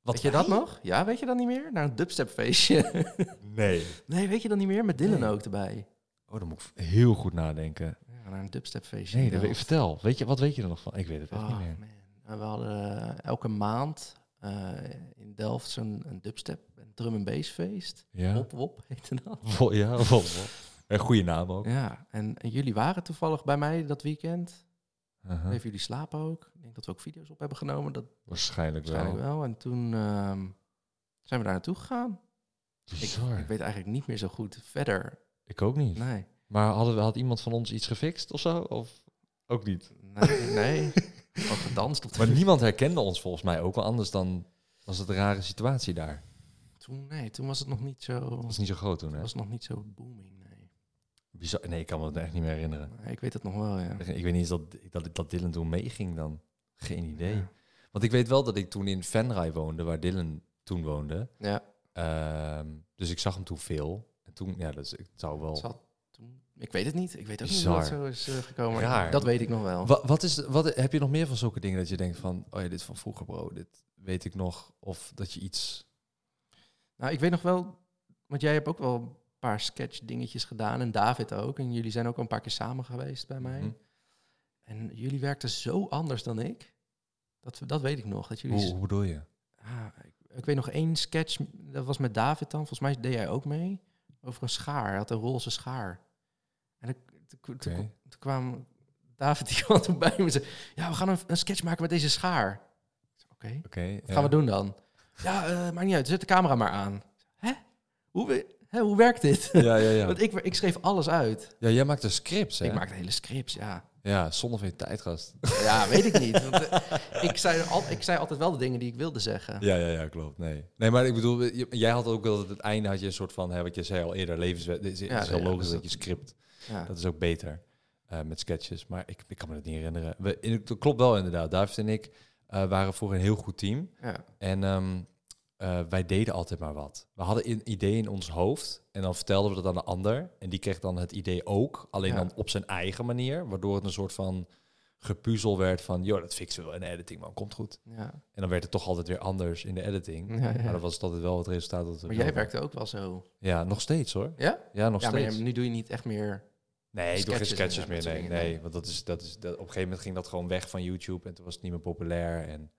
Speaker 1: Wat
Speaker 2: weet je dat nog? Ja, weet je dat niet meer? Naar een dubstepfeestje.
Speaker 1: Nee.
Speaker 2: nee, weet je dat niet meer? Met Dylan
Speaker 1: Nee.
Speaker 2: ook erbij.
Speaker 1: Oh, dan moet ik heel goed nadenken.
Speaker 2: Ja, naar een dubstepfeestje.
Speaker 1: Nee,
Speaker 2: in
Speaker 1: dat weet,
Speaker 2: Delft.
Speaker 1: vertel. Weet je, wat weet je er nog van? Ik weet het echt
Speaker 2: Oh,
Speaker 1: niet meer.
Speaker 2: man. En We hadden eh, elke maand eh, in Delft zo'n een dubstep, een drum en bass feest.
Speaker 1: Ja.
Speaker 2: Wop wop heette dat.
Speaker 1: Vol, ja, vol, vol. Een goede naam ook.
Speaker 2: Ja, en, en jullie waren toevallig bij mij dat weekend.
Speaker 1: Aha,
Speaker 2: Even jullie slapen ook. Ik denk dat we ook video's op hebben genomen, dat
Speaker 1: Waarschijnlijk wel.
Speaker 2: waarschijnlijk wel. En toen ehm, zijn we daar naartoe gegaan.
Speaker 1: Bizar.
Speaker 2: Ik Nou, weet eigenlijk niet meer zo goed verder.
Speaker 1: Ik ook niet.
Speaker 2: Nee,
Speaker 1: Maar hadden we, had iemand van ons iets gefixt of zo? Of ook niet?
Speaker 2: nee, nee. Ook gedanst op de
Speaker 1: Maar niemand herkende ons volgens mij ook wel anders dan was het een rare situatie daar.
Speaker 2: toen, nee, toen was het nog niet zo,
Speaker 1: Dat was niet zo groot toen, hè?
Speaker 2: was nog niet zo booming. Nee.
Speaker 1: Bizar. Nee, ik kan me dat echt niet meer herinneren.
Speaker 2: Maar ik weet het nog wel, ja.
Speaker 1: Ik weet niet eens dat, dat, dat Dylan toen meeging dan. Geen idee.
Speaker 2: Ja.
Speaker 1: Want ik weet wel dat ik toen in Venray woonde, waar Dylan toen woonde.
Speaker 2: ja.
Speaker 1: Ehm, dus ik zag hem toen veel. En toen, ja, dat is, het zou wel...
Speaker 2: Het zal toen- ik weet het niet. Ik weet ook
Speaker 1: Bizar.
Speaker 2: niet hoe dat zo is eh, gekomen.
Speaker 1: Raar.
Speaker 2: Dat weet ik nog wel.
Speaker 1: Wa- wat is, wat, heb je nog meer van zulke dingen dat je denkt van... Oh ja, dit is van vroeger, bro. Dit weet ik nog. Of dat je iets...
Speaker 2: Nou, ik weet nog wel, want jij hebt ook wel een paar sketch dingetjes gedaan en David ook. En jullie zijn ook al een paar keer samen geweest bij mij.
Speaker 1: Mhm.
Speaker 2: En jullie werkten zo anders dan ik. Dat, dat weet ik nog. Dat jullie,
Speaker 1: Hoe, hoe bedoel je?
Speaker 2: Ah, ik, ik weet nog één sketch, dat was met David dan. Volgens mij deed jij ook mee. Over een schaar. Hij had een roze schaar. En ik, toen, toen-
Speaker 1: Oké.
Speaker 2: toen kwam David die kwam toen bij me en zei... Ja, we gaan een, een sketch maken met deze schaar. Ik zei, Oké.
Speaker 1: Oké.
Speaker 2: Wat gaan we doen dan? Ja, eh maakt niet uit. Zet de camera maar aan. Hè? Hoe, we- hè, hoe werkt dit?
Speaker 1: Ja, ja, ja.
Speaker 2: Want ik, ik schreef alles uit.
Speaker 1: ja jij maakt een scripts, hè?
Speaker 2: Ik maakte hele scripts, ja.
Speaker 1: Ja, zonder veel tijdgast.
Speaker 2: Ja, weet ik niet. Want, eh, ik, zei al, ik zei altijd wel de dingen die ik wilde zeggen.
Speaker 1: Ja, ja, ja, klopt. Nee. nee, maar ik bedoel, je- jij had ook wel dat het einde had je een soort van... Hè, wat je zei al eerder, levenswet. Het is, het
Speaker 2: Ja,
Speaker 1: is heel
Speaker 2: ja,
Speaker 1: logisch
Speaker 2: dus
Speaker 1: dat je
Speaker 2: dat-
Speaker 1: script.
Speaker 2: Ja.
Speaker 1: Dat is ook beter eh, met sketches. Maar ik, ik kan me dat niet herinneren. We, in- dat klopt wel inderdaad. David en ik eh, waren vroeger een heel goed team.
Speaker 2: Ja.
Speaker 1: En ehm, eh, wij deden altijd maar wat. We hadden een idee in ons hoofd en dan vertelden we dat aan de ander. En die kreeg dan het idee ook, alleen
Speaker 2: Ja.
Speaker 1: dan op zijn eigen manier. Waardoor het een soort van gepuzzel werd van, joh, dat fixen we wel in de editing, man, komt goed.
Speaker 2: Ja.
Speaker 1: En dan werd het toch altijd weer anders in de editing.
Speaker 2: Ja, ja.
Speaker 1: Maar dat was het altijd wel het resultaat dat we
Speaker 2: Maar jij
Speaker 1: wilden.
Speaker 2: werkte ook wel zo.
Speaker 1: Ja, nog steeds hoor.
Speaker 2: Ja?
Speaker 1: Ja, nog
Speaker 2: ja, maar
Speaker 1: steeds.
Speaker 2: je- nu doe je niet echt meer...
Speaker 1: Nee, ik doe geen
Speaker 2: Sketches en
Speaker 1: sketches
Speaker 2: zo,
Speaker 1: meer.
Speaker 2: dat soort
Speaker 1: Nee,
Speaker 2: dingen,
Speaker 1: nee.
Speaker 2: nee.
Speaker 1: Want dat is, dat is, dat, op een gegeven moment ging dat gewoon weg van YouTube en toen was het niet meer populair. En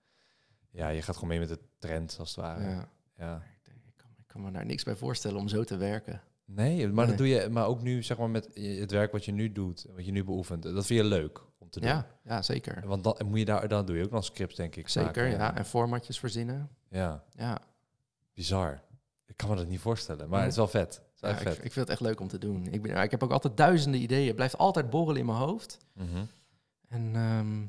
Speaker 1: ja, je gaat gewoon mee met de trend als het ware. Ja.
Speaker 2: Ja. Ik, denk, ik, kan, ik kan me daar niks bij voorstellen om zo te werken.
Speaker 1: Nee, maar dat
Speaker 2: Nee.
Speaker 1: doe je, maar ook nu zeg maar met je- het werk wat je nu doet, wat je nu beoefent, dat vind je leuk om te doen.
Speaker 2: Ja, ja, zeker.
Speaker 1: Want dan moet je daar, dan doe je ook nog scripts denk ik.
Speaker 2: Zeker,
Speaker 1: maken.
Speaker 2: ja. En formatjes verzinnen.
Speaker 1: Ja,
Speaker 2: Ja,
Speaker 1: bizar. Ik kan me dat niet voorstellen, maar het is wel vet. Het is
Speaker 2: Mm. ja,
Speaker 1: echt
Speaker 2: ik,
Speaker 1: vet.
Speaker 2: ik vind het echt leuk om te doen. Ik, ben, ik heb ook altijd duizenden ideeën. Het blijft altijd borrelen in mijn hoofd.
Speaker 1: Mhm.
Speaker 2: En ehm,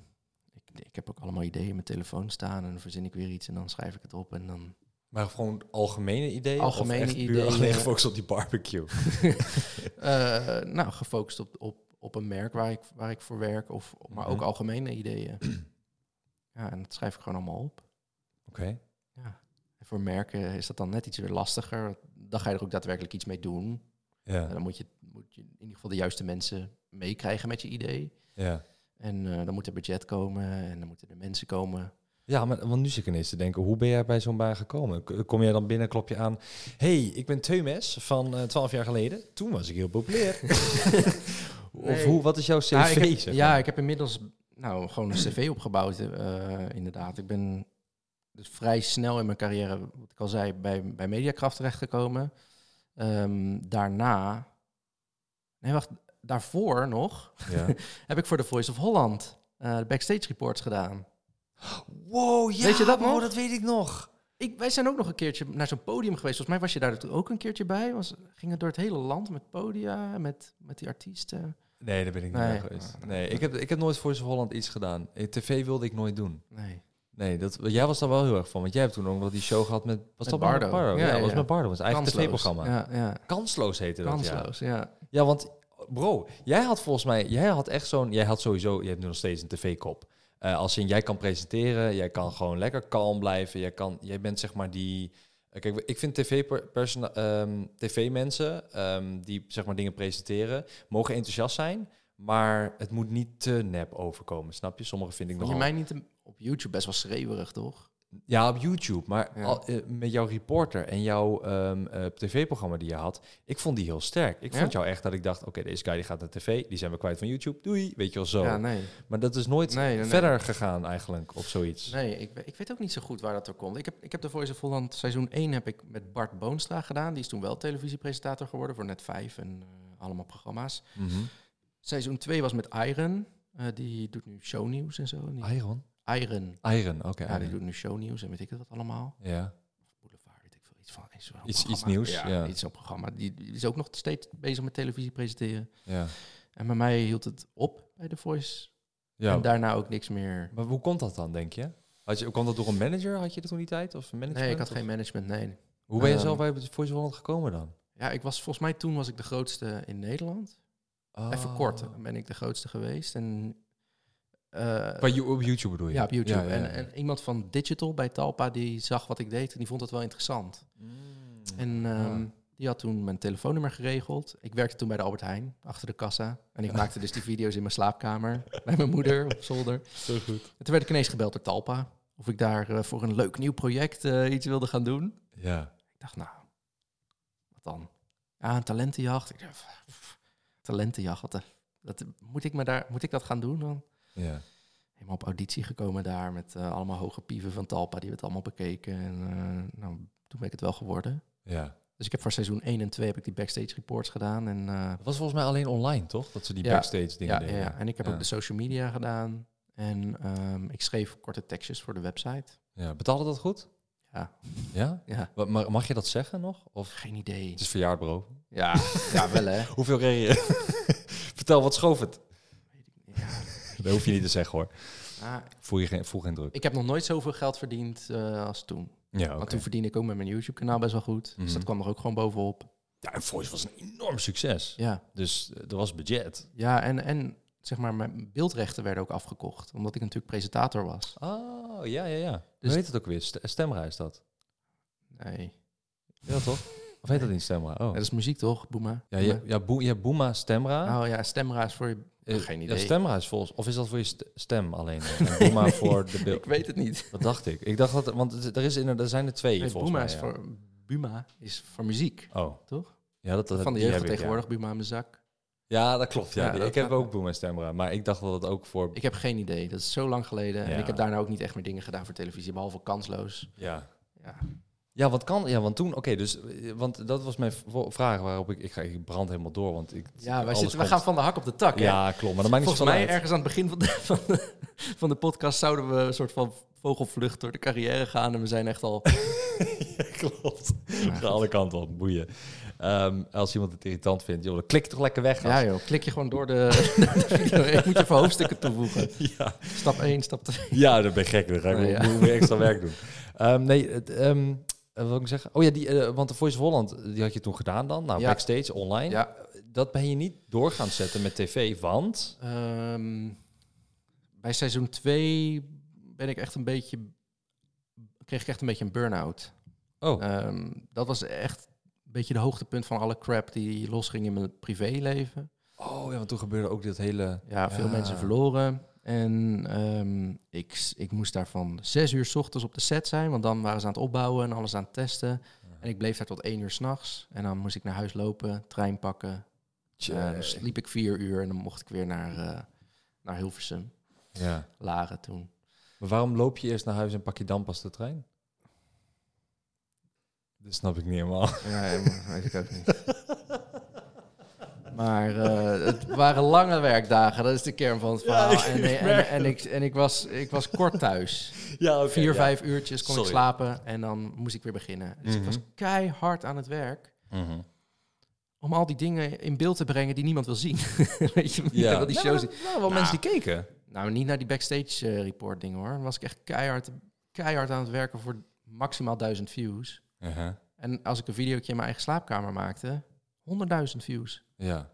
Speaker 2: ik, ik heb ook allemaal ideeën in mijn telefoon staan. En dan verzin ik weer iets en dan schrijf ik het op. En dan...
Speaker 1: Maar gewoon algemene ideeën?
Speaker 2: Algemene
Speaker 1: of echt Puur
Speaker 2: ideeën.
Speaker 1: alleen gefocust op die barbecue.
Speaker 2: Eh, nou, gefocust op, op, op een merk waar ik, waar ik voor werk. Of, maar ook
Speaker 1: Mhm.
Speaker 2: algemene ideeën. ja, en dat schrijf ik gewoon allemaal op.
Speaker 1: Oké.
Speaker 2: Ja. En voor merken is dat dan net iets weer lastiger. want Dan ga je er ook daadwerkelijk iets mee doen.
Speaker 1: Ja.
Speaker 2: En dan moet je, moet je in ieder geval de juiste mensen meekrijgen met je idee.
Speaker 1: ja.
Speaker 2: En eh, dan moet er budget komen en dan moeten er mensen komen.
Speaker 1: Ja, maar, want nu zit ik ineens te denken, hoe ben jij bij zo'n baan gekomen? K- Kom jij dan binnen, klop je aan... hey, ik ben Teumes van eh, twaalf jaar geleden. Toen was ik heel populair. Of
Speaker 2: Nee.
Speaker 1: hoe, wat is jouw cv?
Speaker 2: Ja, Nou, ik heb,
Speaker 1: zeg
Speaker 2: ja,
Speaker 1: maar?
Speaker 2: ik heb inmiddels nou, gewoon een cv opgebouwd, eh, inderdaad. Ik ben dus vrij snel in mijn carrière, wat ik al zei, bij, bij Mediakracht terechtgekomen. Ehm, daarna, nee wacht, daarvoor nog,
Speaker 1: Ja.
Speaker 2: heb ik voor de Voice of Holland eh, de backstage reports gedaan.
Speaker 1: Wow, ja,
Speaker 2: Weet je dat
Speaker 1: wow,
Speaker 2: nog?
Speaker 1: dat weet ik nog.
Speaker 2: Ik, wij zijn ook nog een keertje naar zo'n podium geweest. Volgens mij was je daar toen ook een keertje bij. Was, gingen door het hele land met podia, met, met die artiesten.
Speaker 1: Nee, daar ben ik niet
Speaker 2: Nee.
Speaker 1: bij geweest. Nee, ik heb, ik heb nooit voor Holland iets gedaan. Eh, TV wilde ik nooit doen.
Speaker 2: Nee.
Speaker 1: Nee, dat, jij was daar wel heel erg van. Want jij hebt toen ook nog die show gehad met... Was dat
Speaker 2: Bardo.
Speaker 1: met Bardo? Ja,
Speaker 2: Ja,
Speaker 1: dat was
Speaker 2: ja.
Speaker 1: met Bardo. Het eigen
Speaker 2: Kansloos.
Speaker 1: tv-programma.
Speaker 2: Ja, ja.
Speaker 1: Kansloos heette dat, ja.
Speaker 2: Kansloos, ja.
Speaker 1: Ja, want bro, jij had volgens mij, jij had echt zo'n, jij had sowieso, je hebt nu nog steeds een tv-kop. Eh, als in, jij kan presenteren, jij kan gewoon lekker kalm blijven, jij, kan, jij bent zeg maar die... eh, Kijk, ik vind tv-mensen TV mensen, ehm, die zeg maar dingen presenteren, mogen enthousiast zijn, maar het moet niet te nep overkomen, snap je? Sommigen vind ik
Speaker 2: Vond je
Speaker 1: nogal...
Speaker 2: mij niet een- op YouTube best wel schreeuwerig, toch?
Speaker 1: Ja, op YouTube. Maar
Speaker 2: Ja.
Speaker 1: al- eh, met jouw reporter en jouw ehm, eh, tv-programma die je had, ik vond die heel sterk. Ik
Speaker 2: Ja?
Speaker 1: vond jou echt dat ik dacht, oké, deze guy die gaat naar tv, die zijn we kwijt van YouTube, doei, weet je wel zo.
Speaker 2: Ja, nee.
Speaker 1: Maar dat is nooit
Speaker 2: Nee, nee, nee.
Speaker 1: verder gegaan eigenlijk, of zoiets.
Speaker 2: Nee, ik, we- ik weet ook niet zo goed waar dat door komt. Ik heb, ik heb de Voice of Holland seizoen 1 heb ik met Bart Boonstra gedaan. Die is toen wel televisiepresentator geworden voor Net 5 en eh, allemaal programma's.
Speaker 1: Mhm.
Speaker 2: Seizoen 2 was met Iron. Eh, die doet nu shownieuws en zo. Die-
Speaker 1: Iron?
Speaker 2: Iron.
Speaker 1: Iron, oké.
Speaker 2: Ja, die
Speaker 1: Iron.
Speaker 2: doet nu shownieuws en weet ik het wat allemaal.
Speaker 1: ja.
Speaker 2: Boulevard, weet ik veel, iets van. Iets, van
Speaker 1: Iets- iets
Speaker 2: programma.
Speaker 1: nieuws,
Speaker 2: Ja,
Speaker 1: ja.
Speaker 2: iets zo'n programma. Die, die is ook nog steeds bezig met televisie presenteren.
Speaker 1: ja.
Speaker 2: En bij mij hield het op bij The Voice.
Speaker 1: ja.
Speaker 2: En daarna ook niks meer.
Speaker 1: Maar hoe komt dat dan, denk je? Had je? Komt dat door een manager? Had je dat toen die tijd? Of een manager?
Speaker 2: Nee, ik had geen management, nee.
Speaker 1: Hoe ben je
Speaker 2: Ehm,
Speaker 1: zelf bij Voice Holland gekomen dan?
Speaker 2: Ja, ik was volgens mij toen was ik de grootste in Nederland. Even
Speaker 1: Oh.
Speaker 2: kort eh, ben ik de grootste geweest. En, eh,
Speaker 1: Bij, you- op YouTube bedoel je?
Speaker 2: ja, op YouTube.
Speaker 1: Ja, ja, ja.
Speaker 2: En, en iemand van Digital bij Talpa, die zag wat ik deed en die vond het wel interessant.
Speaker 1: Mm.
Speaker 2: En ehm, die had toen mijn telefoonnummer geregeld. Ik werkte toen bij de Albert Heijn, achter de kassa. En ik maakte dus die video's in mijn slaapkamer, bij mijn moeder op zolder.
Speaker 1: Zo goed.
Speaker 2: En toen werd ik ineens gebeld door Talpa. Of ik daar eh, voor een leuk nieuw project eh, iets wilde gaan doen.
Speaker 1: Ja.
Speaker 2: Ik dacht, nou, wat dan? Ja, een talentenjacht. Ik dacht, pff, pff, talentenjacht, wat de, dat, moet, ik me daar, moet ik dat gaan doen dan?
Speaker 1: Ja.
Speaker 2: Helemaal op auditie gekomen daar met eh, allemaal hoge pieven van Talpa. Die hebben het allemaal bekeken. En eh, nou, toen ben ik het wel geworden.
Speaker 1: Ja.
Speaker 2: Dus ik heb voor seizoen 1 en 2 heb ik die backstage reports gedaan. En, eh,
Speaker 1: Het was volgens mij alleen online, toch? Dat ze die
Speaker 2: Ja.
Speaker 1: backstage dingen
Speaker 2: ja, ja,
Speaker 1: deden.
Speaker 2: ja. en ik heb
Speaker 1: Ja.
Speaker 2: ook de social media gedaan. En ehm, ik schreef korte tekstjes voor de website.
Speaker 1: Ja, Betaalde dat goed?
Speaker 2: Ja.
Speaker 1: Ja?
Speaker 2: Ja.
Speaker 1: Wa- Maar mag je dat zeggen nog? Of
Speaker 2: Geen idee.
Speaker 1: het is verjaard, bro.
Speaker 2: Ja, ja wel hè.
Speaker 1: Hoeveel kreeg je? Vertel, wat schoof het?
Speaker 2: Ja.
Speaker 1: Dat hoef je niet te zeggen, hoor.
Speaker 2: Ah,
Speaker 1: Voel je geen, voel geen druk.
Speaker 2: ik heb nog nooit zoveel geld verdiend eh, als toen.
Speaker 1: Ja, oké.
Speaker 2: Want toen verdiende ik ook met mijn YouTube-kanaal best wel goed.
Speaker 1: Mhm.
Speaker 2: Dus dat kwam er ook gewoon bovenop.
Speaker 1: Ja, en Voice was een enorm succes.
Speaker 2: Ja,
Speaker 1: Dus eh, er was budget.
Speaker 2: ja en, en zeg maar, mijn beeldrechten werden ook afgekocht. Omdat ik natuurlijk presentator was.
Speaker 1: Oh, ja, ja, ja. Dus
Speaker 2: Dus-
Speaker 1: weet het ook weer? St- Stemra is dat.
Speaker 2: Nee.
Speaker 1: Ja, toch? Of heet dat niet Stemra? Oh.
Speaker 2: Dat is muziek toch, Boema?
Speaker 1: Ja, je, ja, Bo- je hebt Boema, Stemra.
Speaker 2: Oh ja, Stemra is voor je...
Speaker 1: Eh,
Speaker 2: geen
Speaker 1: ja,
Speaker 2: idee.
Speaker 1: Stemra is volgens... Of is dat voor je st- stem alleen? En Boema voor de beeld.
Speaker 2: Ik weet het niet.
Speaker 1: Wat dacht ik? Ik dacht dat... Want het- er, is inderdaad, er zijn er twee,
Speaker 2: Nee,
Speaker 1: volgens
Speaker 2: Boema
Speaker 1: mij. ja.
Speaker 2: is voor... Buma is voor muziek.
Speaker 1: Oh.
Speaker 2: Toch?
Speaker 1: Ja, dat, dat,
Speaker 2: Van de
Speaker 1: die
Speaker 2: jeugd
Speaker 1: heb ik, ja.
Speaker 2: tegenwoordig, Buma in mijn zak.
Speaker 1: Ja, dat klopt. Ja.
Speaker 2: Ja,
Speaker 1: Die-
Speaker 2: dat
Speaker 1: ik heb
Speaker 2: gaat-
Speaker 1: ook Boema Stemra. Maar ik dacht dat dat ook voor...
Speaker 2: Ik heb geen idee. Dat is zo lang geleden. En
Speaker 1: Ja.
Speaker 2: ik heb daarna ook niet echt meer dingen gedaan voor televisie, behalve kansloos.
Speaker 1: Ja.
Speaker 2: Ja.
Speaker 1: Ja, wat kan... Ja, want toen... Oké, dus... eh, Want dat was mijn v- vraag waarop ik... Ik, ga, ik brand helemaal door, want ik...
Speaker 2: Ja, wij
Speaker 1: alles
Speaker 2: zitten, we
Speaker 1: komt-
Speaker 2: gaan van de hak op de tak. hè?
Speaker 1: Ja, klopt. Maar dat maakt niet
Speaker 2: Volgens
Speaker 1: zoveel
Speaker 2: mij
Speaker 1: uit.
Speaker 2: ergens aan het begin van de, van, de, van de podcast zouden we een soort van vogelvlucht door de carrière gaan. En we zijn echt al...
Speaker 1: Ja, klopt. Ga alle kanten op, boeien. Ehm, als iemand het irritant vindt, joh, dan klik toch lekker weg. gast.
Speaker 2: Ja joh, klik je gewoon door de, de video. Ik moet je even hoofdstukken toevoegen.
Speaker 1: ja.
Speaker 2: Stap 1, stap 2.
Speaker 1: ja, dat ben ik gek. Dan ga ik
Speaker 2: Nee,
Speaker 1: weer-
Speaker 2: Oh, ja.
Speaker 1: moet ik weer extra werk doen. Ehm, nee, het, ehm, eh, wat wil ik zeggen? Oh ja, die, eh, want de Voice of Holland, die had je toen gedaan dan. Nou,
Speaker 2: Ja.
Speaker 1: backstage, online.
Speaker 2: Ja.
Speaker 1: Dat ben je niet door gaan zetten met tv, want...
Speaker 2: Ehm, bij seizoen 2 ben ik echt een beetje... Kreeg ik echt een beetje een burn-out.
Speaker 1: Oh,
Speaker 2: Ehm, dat was echt een beetje de hoogtepunt van alle crap die losging in mijn privéleven.
Speaker 1: oh ja, want toen gebeurde ook dit hele...
Speaker 2: Ja, veel
Speaker 1: Ja.
Speaker 2: mensen verloren. En ehm, ik, s- ik moest daar van zes uur 's ochtends op de set zijn, want dan waren ze aan het opbouwen en alles aan het testen. En ik bleef daar tot één uur s'nachts. En dan moest ik naar huis lopen, trein pakken.
Speaker 1: Tje.
Speaker 2: Eh, dan sliep ik vier uur en dan mocht ik weer naar, eh, naar Hilversum,
Speaker 1: ja.
Speaker 2: Laren toen.
Speaker 1: Maar waarom loop je eerst naar huis en pak je dan pas de trein? Dat snap ik niet helemaal.
Speaker 2: Ja, ja, maar weet ik ook niet. Maar eh, het waren lange werkdagen, dat is de kern van het verhaal.
Speaker 1: ik-
Speaker 2: en
Speaker 1: ik
Speaker 2: en,
Speaker 1: merk
Speaker 2: en, ik, en ik, was, ik was kort thuis.
Speaker 1: Ja, oké,
Speaker 2: Vier,
Speaker 1: ja.
Speaker 2: vijf uurtjes kon
Speaker 1: Sorry.
Speaker 2: ik slapen en dan moest ik weer beginnen. Dus ik was
Speaker 1: Mhm.
Speaker 2: keihard aan het werk
Speaker 1: Mhm.
Speaker 2: om al die dingen in beeld te brengen die niemand wil zien. Weet je, ja. wil die
Speaker 1: Nou,
Speaker 2: shows
Speaker 1: maar er waren wel mensen die keken.
Speaker 2: Nou, niet naar die backstage eh, report dingen hoor. Dan was ik echt keihard, keihard aan het werken voor maximaal duizend views. En als ik een videootje in mijn eigen slaapkamer maakte, 100.000 views.
Speaker 1: Ja.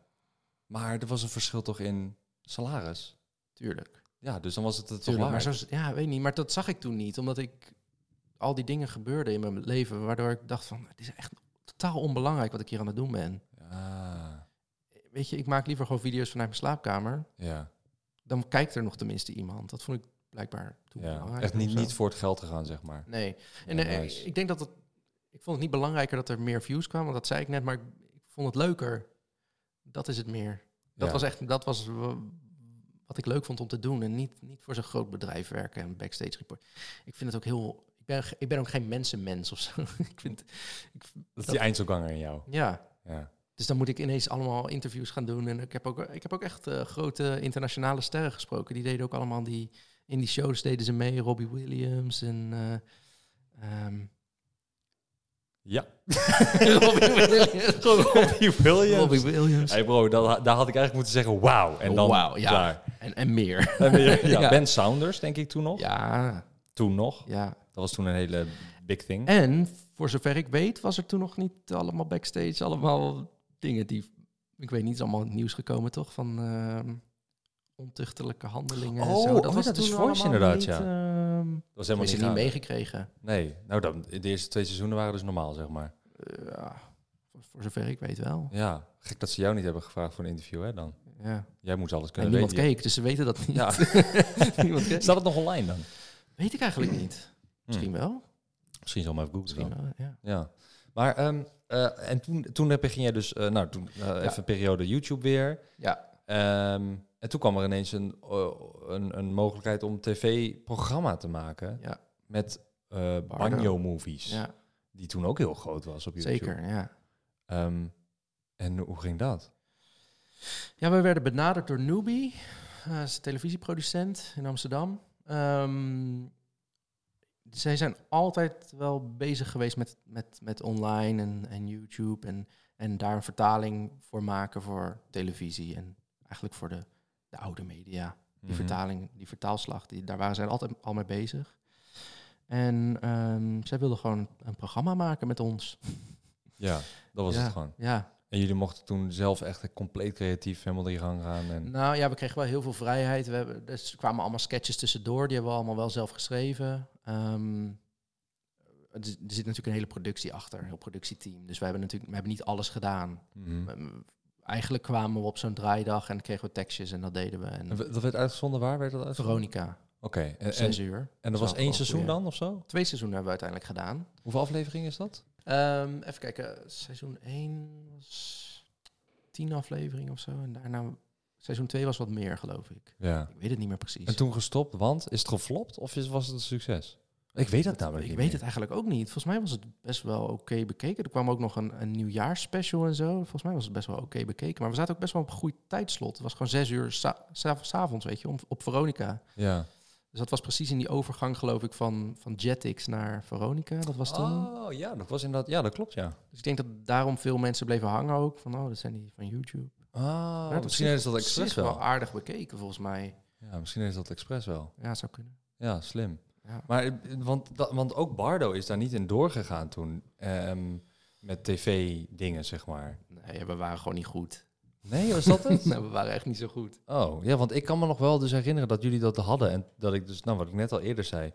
Speaker 1: Maar er was een verschil toch in salaris?
Speaker 2: Tuurlijk.
Speaker 1: Ja, dus dan was het het toch
Speaker 2: Tuurlijk.
Speaker 1: waar.
Speaker 2: Maar zo, is- ja, weet niet. Maar dat zag ik toen niet, omdat ik al die dingen gebeurden in mijn leven, waardoor ik dacht van, het is echt totaal onbelangrijk wat ik hier aan het doen ben.
Speaker 1: Ah,
Speaker 2: Weet je, ik maak liever gewoon video's vanuit mijn slaapkamer.
Speaker 1: ja.
Speaker 2: Dan kijkt er nog tenminste iemand. Dat vond ik blijkbaar toen
Speaker 1: ja.
Speaker 2: belangrijk.
Speaker 1: Echt niet,
Speaker 2: of zo.
Speaker 1: niet voor het geld gegaan, zeg maar.
Speaker 2: Nee. En
Speaker 1: Ja,
Speaker 2: eh,
Speaker 1: nice.
Speaker 2: ik denk dat het. Ik vond het niet belangrijker dat er meer views kwamen, want dat zei ik net, maar ik, ik vond het leuker. Dat is het meer. Dat
Speaker 1: Ja.
Speaker 2: was echt. Dat was wa- wat ik leuk vond om te doen en niet, niet voor zo'n groot bedrijf werken en backstage report. Ik vind het ook heel. Ik ben, ge- ik ben ook geen mensenmens of zo. ik vind,
Speaker 1: Dat is die eindselganger in jou.
Speaker 2: ja.
Speaker 1: Ja.
Speaker 2: Dus dan moet ik ineens allemaal interviews gaan doen. En ik heb ook, ik heb ook echt eh, grote internationale sterren gesproken. Die deden ook allemaal die... In die shows deden ze mee. Robbie Williams en... eh, ehm,
Speaker 1: Ja.
Speaker 2: Robbie Williams.
Speaker 1: Robbie Williams.
Speaker 2: Robbie Williams.
Speaker 1: Hey bro, dat, daar had ik eigenlijk moeten zeggen wauw. En dan
Speaker 2: Oh, Wauw, ja.
Speaker 1: daar.
Speaker 2: En, en meer.
Speaker 1: En weer- ja,
Speaker 2: Ja.
Speaker 1: Ben Saunders, denk ik toen nog.
Speaker 2: Ja,
Speaker 1: Toen nog.
Speaker 2: ja.
Speaker 1: Dat was toen een hele big thing.
Speaker 2: En voor zover ik weet, was er toen nog niet allemaal backstage, allemaal dingen die... Ik weet niet, is allemaal in het nieuws gekomen, toch? Van ehm, ontuchtelijke handelingen en
Speaker 1: Oh,
Speaker 2: zo.
Speaker 1: oh, dat is
Speaker 2: toen
Speaker 1: Voice
Speaker 2: allemaal
Speaker 1: inderdaad,
Speaker 2: niet, ehm,
Speaker 1: dat was
Speaker 2: Helemaal
Speaker 1: helemaal
Speaker 2: niet,
Speaker 1: niet,
Speaker 2: niet
Speaker 1: gaande.
Speaker 2: meegekregen.
Speaker 1: Nee, nou dan, de eerste twee seizoenen waren dus normaal, zeg maar.
Speaker 2: Eh, ja, voor, voor zover ik weet wel.
Speaker 1: Ja, gek dat ze jou niet hebben gevraagd voor een interview, hè dan.
Speaker 2: Ja.
Speaker 1: Jij moet alles
Speaker 2: En
Speaker 1: kunnen
Speaker 2: niemand
Speaker 1: weten.
Speaker 2: keek, dus ze weten dat niet.
Speaker 1: Ja.
Speaker 2: niemand keek.
Speaker 1: Staat het nog online dan?
Speaker 2: Weet ik eigenlijk niet. Misschien wel.
Speaker 1: Hm, Misschien zal maar even googlen.
Speaker 2: Misschien
Speaker 1: dan.
Speaker 2: wel, ja.
Speaker 1: Ja. Maar ehm, eh, en toen, toen heb- ging jij dus, eh, nou toen eh, even een periode YouTube weer.
Speaker 2: Ja.
Speaker 1: Ehm, en toen kwam er ineens een, eh, een, een mogelijkheid om tv-programma te maken
Speaker 2: Ja.
Speaker 1: met eh
Speaker 2: Bardo.
Speaker 1: banjo-movies.
Speaker 2: Ja,
Speaker 1: Die toen ook heel groot was op YouTube.
Speaker 2: zeker. Ja.
Speaker 1: Ehm, en hoe ging dat?
Speaker 2: ja, we werden benaderd door Newbie, eh, is een televisieproducent in Amsterdam. Ehm, zij zijn altijd wel bezig geweest met, met, met online en, en YouTube en, en daar een vertaling voor maken voor televisie en eigenlijk voor de, de oude media. Die
Speaker 1: Mhm.
Speaker 2: vertaling, die vertaalslag, die, daar waren zij altijd al mee bezig. En ehm, zij wilden gewoon een programma maken met ons.
Speaker 1: Ja, dat was
Speaker 2: Ja.
Speaker 1: het gewoon.
Speaker 2: Ja,
Speaker 1: En jullie mochten toen zelf echt compleet creatief helemaal in gang gaan. En...
Speaker 2: Nou ja, we kregen wel heel veel vrijheid. We hebben, dus er kwamen allemaal sketches tussendoor. Die hebben we allemaal wel zelf geschreven. Ehm, het is- er zit natuurlijk een hele productie achter, een heel productieteam. Dus we hebben natuurlijk we hebben niet alles gedaan.
Speaker 1: Mhm.
Speaker 2: We- Eigenlijk kwamen we op zo'n draaidag en kregen we tekstjes en dat deden we.
Speaker 1: En
Speaker 2: En
Speaker 1: w- Dat werd uitgezonden, waar werd dat uitgezonden?
Speaker 2: Veronica,
Speaker 1: Oké, en- en,
Speaker 2: zes uur.
Speaker 1: en dat
Speaker 2: Zou
Speaker 1: was
Speaker 2: gewoon
Speaker 1: één seizoen
Speaker 2: goeie-
Speaker 1: dan of zo?
Speaker 2: Twee seizoenen hebben we uiteindelijk gedaan.
Speaker 1: Hoeveel afleveringen is dat?
Speaker 2: Ehm, even kijken, seizoen 1 was 10 afleveringen of zo. En daarna, seizoen 2 was wat meer, geloof ik.
Speaker 1: Ja.
Speaker 2: Ik weet het niet meer precies.
Speaker 1: En toen gestopt, want is het geflopt of is, was het een succes? Ik weet dat namelijk
Speaker 2: ik
Speaker 1: niet
Speaker 2: weet
Speaker 1: meer.
Speaker 2: het eigenlijk ook niet. Volgens mij was het best wel oké bekeken. Er kwam ook nog een, een nieuwjaarsspecial en zo. Volgens mij was het best wel oké bekeken. Maar we zaten ook best wel op een goed tijdslot. Het was gewoon zes uur sa- sa- s'avonds, weet je, om, op Veronica.
Speaker 1: Ja.
Speaker 2: Dus dat was precies in die overgang, geloof ik, van, van Jetix naar Veronica. Dat was toen.
Speaker 1: Oh ja, dat was inderdaad. Ja, dat klopt ja.
Speaker 2: Dus ik denk dat daarom veel mensen bleven hangen ook. Van, oh, dat zijn die van YouTube.
Speaker 1: Ah,
Speaker 2: dat
Speaker 1: misschien
Speaker 2: is
Speaker 1: is dat
Speaker 2: Op zich
Speaker 1: expres wel.
Speaker 2: aardig bekeken, volgens mij.
Speaker 1: Ja, misschien is dat expres wel.
Speaker 2: Ja, zou kunnen.
Speaker 1: Ja, slim.
Speaker 2: Ja.
Speaker 1: Maar eh, want, dat, want ook Bardo is daar niet in doorgegaan toen ehm, met tv-dingen zeg maar.
Speaker 2: Nee, we waren gewoon niet goed.
Speaker 1: Nee, was dat het?
Speaker 2: Nee, we waren echt niet zo goed.
Speaker 1: Oh ja, want ik kan me nog wel dus herinneren dat jullie dat hadden en dat ik dus, nou wat ik net al eerder zei.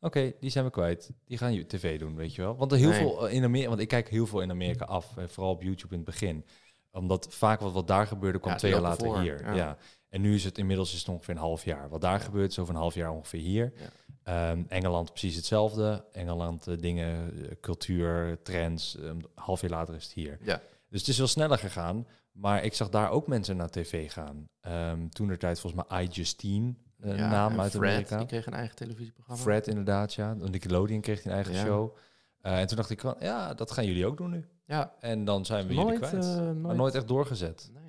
Speaker 1: Oké, die zijn we kwijt. Die gaan je tv doen, weet je wel. Want er heel
Speaker 2: Nee.
Speaker 1: veel eh, in Amerika, want ik kijk heel veel in Amerika af, eh, vooral op YouTube in het begin, omdat vaak wat, wat daar gebeurde kwam
Speaker 2: Ja, ze
Speaker 1: twee jaar
Speaker 2: lopen
Speaker 1: later
Speaker 2: voor,
Speaker 1: hier. Ja.
Speaker 2: ja.
Speaker 1: En nu is het inmiddels is het ongeveer een half jaar. Wat daar gebeurt is over een half jaar ongeveer hier. Ehm, Engeland precies hetzelfde. Engeland eh, dingen, eh, cultuur, trends. ehm, een half jaar later is het hier.
Speaker 2: Ja.
Speaker 1: Dus het is wel sneller gegaan. Maar ik zag daar ook mensen naar tv gaan. Ehm, toen er tijd volgens mij I Justine, een
Speaker 2: Ja,
Speaker 1: naam
Speaker 2: en
Speaker 1: uit
Speaker 2: Fred,
Speaker 1: Amerika.
Speaker 2: Die kreeg een eigen televisieprogramma.
Speaker 1: Fred inderdaad, ja. Nickelodeon kreeg een eigen
Speaker 2: Ja.
Speaker 1: show. Eh, en toen dacht ik wel, ja, dat gaan jullie ook doen nu.
Speaker 2: Ja,
Speaker 1: En dan zijn we
Speaker 2: nooit,
Speaker 1: jullie kwijt.
Speaker 2: eh,
Speaker 1: maar
Speaker 2: nooit.
Speaker 1: nooit echt doorgezet.
Speaker 2: Nee.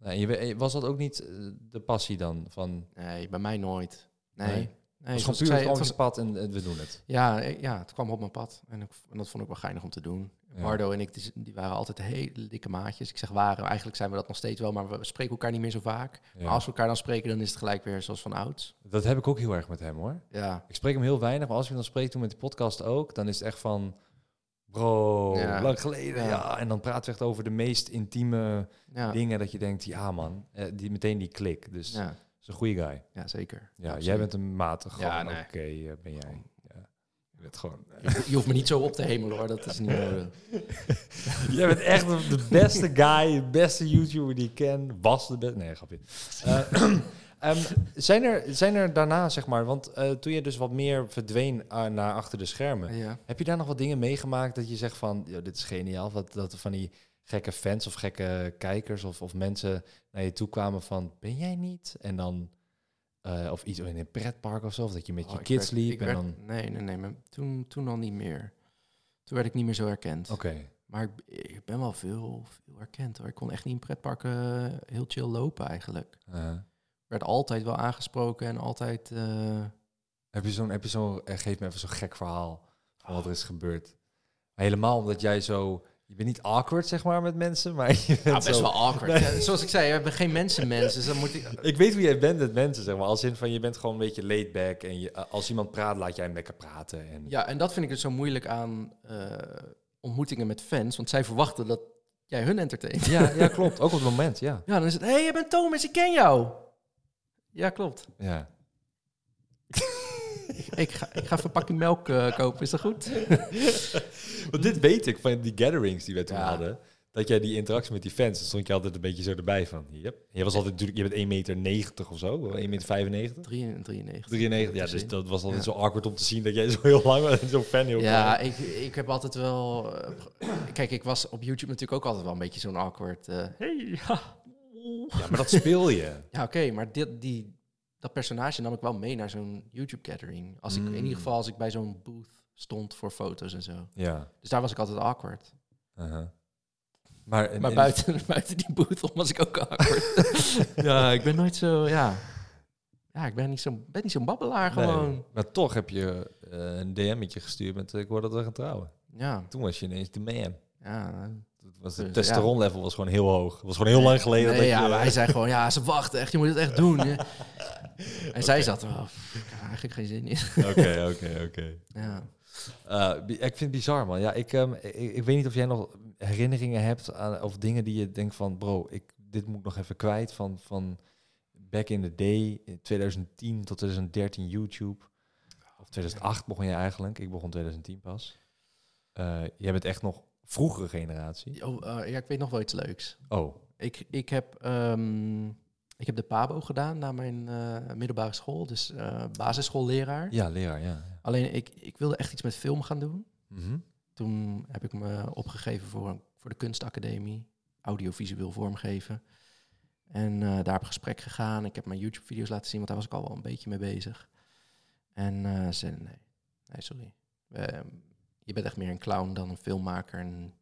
Speaker 1: Nee, en je, we- was dat ook niet eh, de passie dan? Van,
Speaker 2: nee, bij mij nooit. Nee.
Speaker 1: Nee.
Speaker 2: nee.
Speaker 1: het was gewoon
Speaker 2: zoals ik
Speaker 1: puur het
Speaker 2: zei, het was-
Speaker 1: pad en, en we doen het.
Speaker 2: ja, eh, ja, het kwam op mijn pad. En, ik, en dat vond ik wel geinig om te doen.
Speaker 1: Ja.
Speaker 2: Bardo en ik die, die waren altijd hele dikke maatjes. Ik zeg waren, eigenlijk zijn we dat nog steeds wel, maar we spreken elkaar niet meer zo vaak.
Speaker 1: Ja.
Speaker 2: Maar als we elkaar dan spreken, dan is het gelijk weer zoals van ouds.
Speaker 1: Dat heb ik ook heel erg met hem hoor.
Speaker 2: Ja,
Speaker 1: Ik spreek hem heel weinig, maar als ik hem dan spreek, toen met de podcast ook, dan is het echt van, bro,
Speaker 2: Ja.
Speaker 1: lang geleden, ja.
Speaker 2: Ja.
Speaker 1: En dan praten we echt over de meest intieme
Speaker 2: ja,
Speaker 1: dingen dat je denkt, ja man, eh, die, meteen die klik. Dus dat
Speaker 2: ja,
Speaker 1: is een goede guy.
Speaker 2: ja zeker.
Speaker 1: Ja, jij
Speaker 2: Absoluut.
Speaker 1: bent een matig
Speaker 2: Ja,
Speaker 1: gewoon,
Speaker 2: nee.
Speaker 1: oké eh, ben jij. Ja. Je bent gewoon...
Speaker 2: Je hoeft me niet zo op te hemelen hoor, dat is niet nodig.
Speaker 1: jij bent echt de de beste guy, de beste YouTuber die ik ken. Was de beste... Nee, grapje. Eh, ehm, zijn, er, zijn er daarna, zeg maar, want eh, toen je dus wat meer verdween eh, naar achter de schermen,
Speaker 2: Ja.
Speaker 1: Heb je daar nog wat dingen meegemaakt dat je zegt van, "Yo, dit is geniaal, wat, dat er van die gekke fans of gekke kijkers of, of mensen naar je toe kwamen van, ben jij niet? En dan, eh, of iets in een pretpark of zo, of dat je met
Speaker 2: Oh,
Speaker 1: je
Speaker 2: ik
Speaker 1: kids
Speaker 2: werd-
Speaker 1: liep
Speaker 2: ik
Speaker 1: en
Speaker 2: werd-
Speaker 1: dan...
Speaker 2: Nee, nee, nee, maar toen, toen al niet meer. Toen werd ik niet meer zo herkend.
Speaker 1: Oké,
Speaker 2: Maar ik, ik ben wel veel, veel herkend hoor. Ik kon echt niet in pretparken eh, heel chill lopen eigenlijk.
Speaker 1: eh.
Speaker 2: Ik werd altijd wel aangesproken en altijd... eh,
Speaker 1: heb je zo'n, heb je zo'n, eh, geef me even zo'n gek verhaal van wat er is gebeurd. Helemaal omdat jij zo, je bent niet awkward zeg maar met mensen, maar je bent
Speaker 2: nou, best
Speaker 1: zo-
Speaker 2: wel awkward. Ja, Zoals ik zei, we hebben geen mensenmens. Dus dan moet ik...
Speaker 1: Ik weet wie jij bent met mensen zeg maar, als in van je bent gewoon een beetje laid back en je, eh, als iemand praat laat jij hem lekker praten en...
Speaker 2: Ja, en dat vind ik dus zo moeilijk aan eh, ontmoetingen met fans. Want zij verwachten dat jij hun entertaint.
Speaker 1: Ja, ja, klopt. Ook op het moment, ja.
Speaker 2: Ja, dan is het... Hé, hey, jij bent Thomas, ik ken jou! Ja, klopt.
Speaker 1: ja.
Speaker 2: Ik ga, ik ga even een pakje melk eh, kopen, is dat goed?
Speaker 1: Want dit weet ik van die gatherings die we toen
Speaker 2: Ja.
Speaker 1: hadden. Dat jij die interactie met die fans, dan stond je altijd een beetje zo erbij van. Yep. Je was altijd natuurlijk, je bent 1,90 meter of zo, of 1,95 meter.
Speaker 2: 3 93.
Speaker 1: 93, ja, dus
Speaker 2: Precies.
Speaker 1: dat was altijd
Speaker 2: Ja.
Speaker 1: zo awkward om te zien dat jij zo heel lang en zo fan heel
Speaker 2: Ja,
Speaker 1: klein.
Speaker 2: ik, ik heb altijd wel... eh, ge- kijk, ik was op YouTube natuurlijk ook altijd wel een beetje zo'n awkward... eh, hey, ja.
Speaker 1: ja, maar dat speel je.
Speaker 2: Ja, oké, maar dit, die, dat personage nam ik wel mee naar zo'n YouTube-gathering. Als ik
Speaker 1: Mm.
Speaker 2: In ieder geval als ik bij zo'n booth stond voor foto's en zo.
Speaker 1: Ja.
Speaker 2: Dus daar was ik altijd awkward.
Speaker 1: uh-huh. Maar, en-
Speaker 2: maar
Speaker 1: en-
Speaker 2: buiten, buiten die booth om was ik ook awkward. ja, ik ben nooit zo... Ja, ja ik ben niet zo'n ben niet zo'n babbelaar
Speaker 1: nee,
Speaker 2: gewoon.
Speaker 1: maar toch heb je eh, een DM'tje gestuurd met eh, ik hoor dat we gaan trouwen.
Speaker 2: Ja,
Speaker 1: Toen was je ineens de man.
Speaker 2: ja...
Speaker 1: Dat was, het
Speaker 2: Dus, ja.
Speaker 1: testosteronlevel was gewoon heel hoog. Het was gewoon heel lang geleden
Speaker 2: Nee,
Speaker 1: dat
Speaker 2: ja,
Speaker 1: je...
Speaker 2: maar hij zei gewoon, ja, ze wachten echt, je moet het echt doen. hè. en zij zat, er, oh, pff, ik heb er eigenlijk geen zin in.
Speaker 1: Oké, oké, oké.
Speaker 2: ja.
Speaker 1: Eh, bi- ik vind het bizar, man. Ja, ik, ehm, ik, ik weet niet of jij nog herinneringen hebt aan, of dingen die je denkt van, bro, ik, dit moet ik nog even kwijt van, van back in the day, in 2010 tot 2013 YouTube. Of 2008 begon je eigenlijk. Ik begon 2010 pas. eh, jij bent echt nog vroegere generatie.
Speaker 2: Oh, eh, ja, ik weet nog wel iets leuks.
Speaker 1: Oh,
Speaker 2: Ik, ik, heb, ehm, ik heb de PABO gedaan na mijn eh, middelbare school. Dus eh basisschoolleraar.
Speaker 1: ja, leraar, ja.
Speaker 2: Alleen ik, ik wilde echt iets met film gaan doen.
Speaker 1: Mhm.
Speaker 2: Toen heb ik me opgegeven voor, een- voor de kunstacademie. Audiovisueel vormgeven. En eh, daar heb ik gesprek gegaan. Ik heb mijn YouTube-video's laten zien, want daar was ik al wel een beetje mee bezig. En eh, ze zeiden, nee, nee, sorry. Eh, je bent echt meer een clown dan een filmmaker. En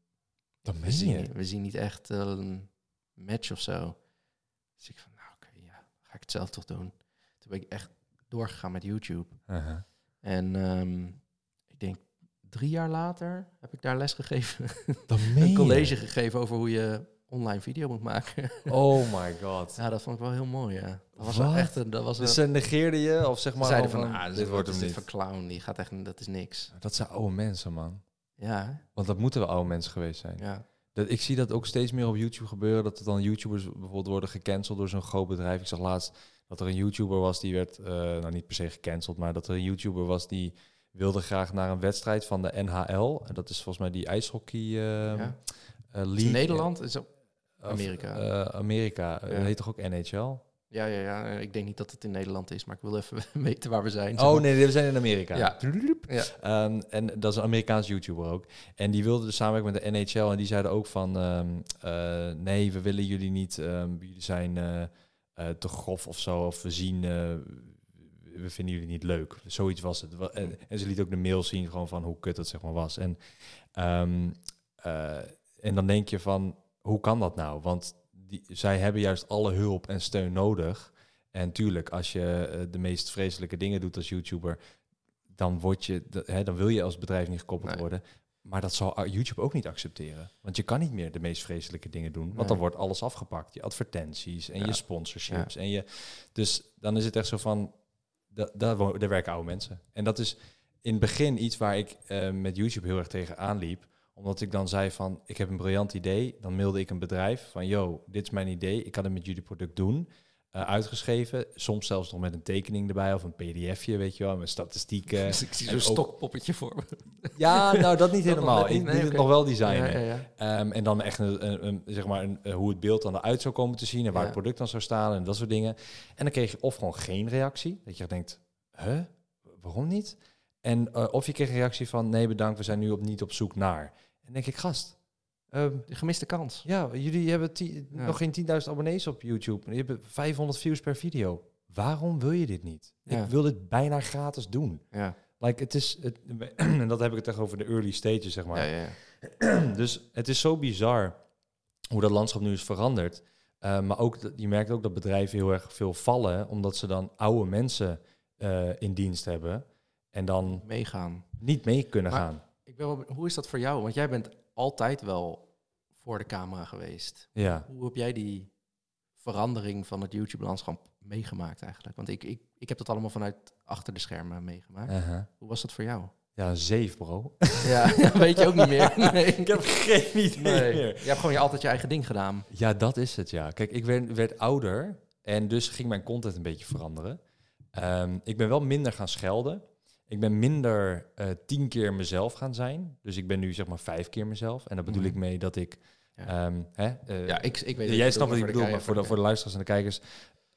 Speaker 1: Dat
Speaker 2: we
Speaker 1: meen je.
Speaker 2: zien, we zien niet echt eh, een match of zo. Dus ik van, nou oké, ja, ga ik het zelf toch doen. Toen ben ik echt doorgegaan met YouTube.
Speaker 1: Aha.
Speaker 2: En ehm, ik denk drie jaar later heb ik daar les gegeven.
Speaker 1: Dat meen
Speaker 2: een
Speaker 1: je.
Speaker 2: college gegeven over hoe je online video moet maken.
Speaker 1: Oh my god.
Speaker 2: ja, dat vond ik wel heel mooi, ja. Dat was
Speaker 1: Wat?
Speaker 2: wel echt een... Dat was een
Speaker 1: Dus ze negeerden je of zeg
Speaker 2: ze
Speaker 1: maar...
Speaker 2: zeiden
Speaker 1: al
Speaker 2: van, ah, dit, wordt hem dit
Speaker 1: niet.
Speaker 2: van clown, die gaat echt, dat is niks.
Speaker 1: dus Dat zijn oude mensen, man.
Speaker 2: Ja, hè?
Speaker 1: Want dat moeten wel oude mensen geweest zijn.
Speaker 2: ja.
Speaker 1: Dat, ik zie dat ook steeds meer op YouTube gebeuren. Dat er dan YouTubers bijvoorbeeld worden gecanceld door zo'n groot bedrijf. Ik zag laatst dat er een YouTuber was die werd, eh, nou niet per se gecanceld, maar dat er een YouTuber was die wilde graag naar een wedstrijd van de NHL. En dat is volgens mij die ijshockey eh,
Speaker 2: ja. Dus
Speaker 1: eh, league.
Speaker 2: Nederland is ook...
Speaker 1: Of,
Speaker 2: Amerika.
Speaker 1: eh, Amerika.
Speaker 2: Ja.
Speaker 1: Dat heet toch ook NHL?
Speaker 2: Ja, ja, ja. Ik denk niet dat het in Nederland is, maar ik wil even weten waar we zijn.
Speaker 1: Oh nee, we zijn in Amerika.
Speaker 2: Ja. Ja.
Speaker 1: Ehm, en dat is een Amerikaans YouTuber ook. En die wilde dus samenwerken met de NHL. En die zeiden ook van... ehm, eh, nee, we willen jullie niet. ehm, jullie zijn eh, eh, te grof of zo. Of we zien... eh, we vinden jullie niet leuk. Zoiets was het. Wa- En, en ze liet ook de mail zien gewoon van hoe kut dat zeg maar was. En, ehm, eh, en dan denk je van... Hoe kan dat nou? Want die, zij hebben juist alle hulp en steun nodig. En tuurlijk, als je eh, de meest vreselijke dingen doet als YouTuber dan, word je, d- hè, dan wil je als bedrijf niet gekoppeld
Speaker 2: Nee.
Speaker 1: worden. Maar dat zal uh, YouTube ook niet accepteren. Want je kan niet meer de meest vreselijke dingen doen. Want
Speaker 2: Nee.
Speaker 1: dan wordt alles afgepakt. Je advertenties en
Speaker 2: Ja.
Speaker 1: je sponsorships. En je, dus dan is het echt zo van... da- Daar, wo- daar werken oude mensen. En dat is in het begin iets waar ik eh, met YouTube heel erg tegen aanliep. Omdat ik dan zei van, ik heb een briljant idee. Dan mailde ik een bedrijf van, yo, dit is mijn idee. Ik kan het met jullie product doen. Eh, uitgeschreven, soms zelfs nog met een tekening erbij of een pdfje, weet je wel, met statistieken.
Speaker 2: Dus ik zie
Speaker 1: eh, En
Speaker 2: zo'n
Speaker 1: ook-
Speaker 2: stokpoppetje voor me.
Speaker 1: Ja, nou dat niet
Speaker 2: Dat
Speaker 1: helemaal.
Speaker 2: nog
Speaker 1: Ik
Speaker 2: net niet, nee,
Speaker 1: liet het
Speaker 2: oké.
Speaker 1: nog wel designen.
Speaker 2: Ja, ja, ja.
Speaker 1: Ehm, en dan echt een, een- een- zeg maar een, eh, hoe het beeld dan eruit zou komen te zien en waar
Speaker 2: Ja.
Speaker 1: het product dan zou staan en dat soort dingen. En dan kreeg je of gewoon geen reactie, dat je denkt, huh, waarom niet? En eh, of je kreeg een reactie van, nee bedankt, we zijn nu op, niet op zoek naar. En dan denk ik, gast, ehm,
Speaker 2: De gemiste kans.
Speaker 1: ja, jullie hebben ti-
Speaker 2: Ja.
Speaker 1: nog geen 10.000 abonnees op YouTube. Je hebt 500 views per video. Waarom wil je dit niet?
Speaker 2: Ja.
Speaker 1: Ik wil dit bijna gratis doen.
Speaker 2: Ja,
Speaker 1: Like, het is, het, en dat heb ik het echt over de early stages, zeg maar.
Speaker 2: ja, ja, ja.
Speaker 1: Dus het is zo bizar hoe dat landschap nu is veranderd. Eh, maar ook, dat- je merkt ook dat bedrijven heel erg veel vallen, omdat ze dan oude mensen eh, in dienst hebben en dan
Speaker 2: Meegaan.
Speaker 1: niet mee kunnen
Speaker 2: Maar-
Speaker 1: gaan.
Speaker 2: Ik ben wel be- hoe is dat voor jou? Want jij bent altijd wel voor de camera geweest.
Speaker 1: Ja.
Speaker 2: Hoe heb jij die verandering van het YouTube-landschap meegemaakt eigenlijk? Want ik, ik, ik heb dat allemaal vanuit achter de schermen meegemaakt.
Speaker 1: Uh-huh.
Speaker 2: Hoe was dat voor jou?
Speaker 1: Ja, een zeef, bro.
Speaker 2: Ja, dat weet je ook niet meer. Nee.
Speaker 1: ik heb geen idee
Speaker 2: Nee.
Speaker 1: meer.
Speaker 2: Je hebt gewoon je altijd je eigen ding gedaan.
Speaker 1: Ja, dat is het, ja. Kijk, ik werd, werd ouder en dus ging mijn content een beetje veranderen. Ehm, ik ben wel minder gaan schelden. Ik ben minder eh, tien keer mezelf gaan zijn. Dus ik ben nu zeg maar vijf keer mezelf. En daar bedoel ik
Speaker 2: Mhm.
Speaker 1: mee dat ik...
Speaker 2: Ja.
Speaker 1: ehm, hè, eh,
Speaker 2: Ja, ik, ik weet
Speaker 1: jij snapt wat ik bedoel, maar voor de, voor
Speaker 2: voor
Speaker 1: de luisteraars en de kijkers...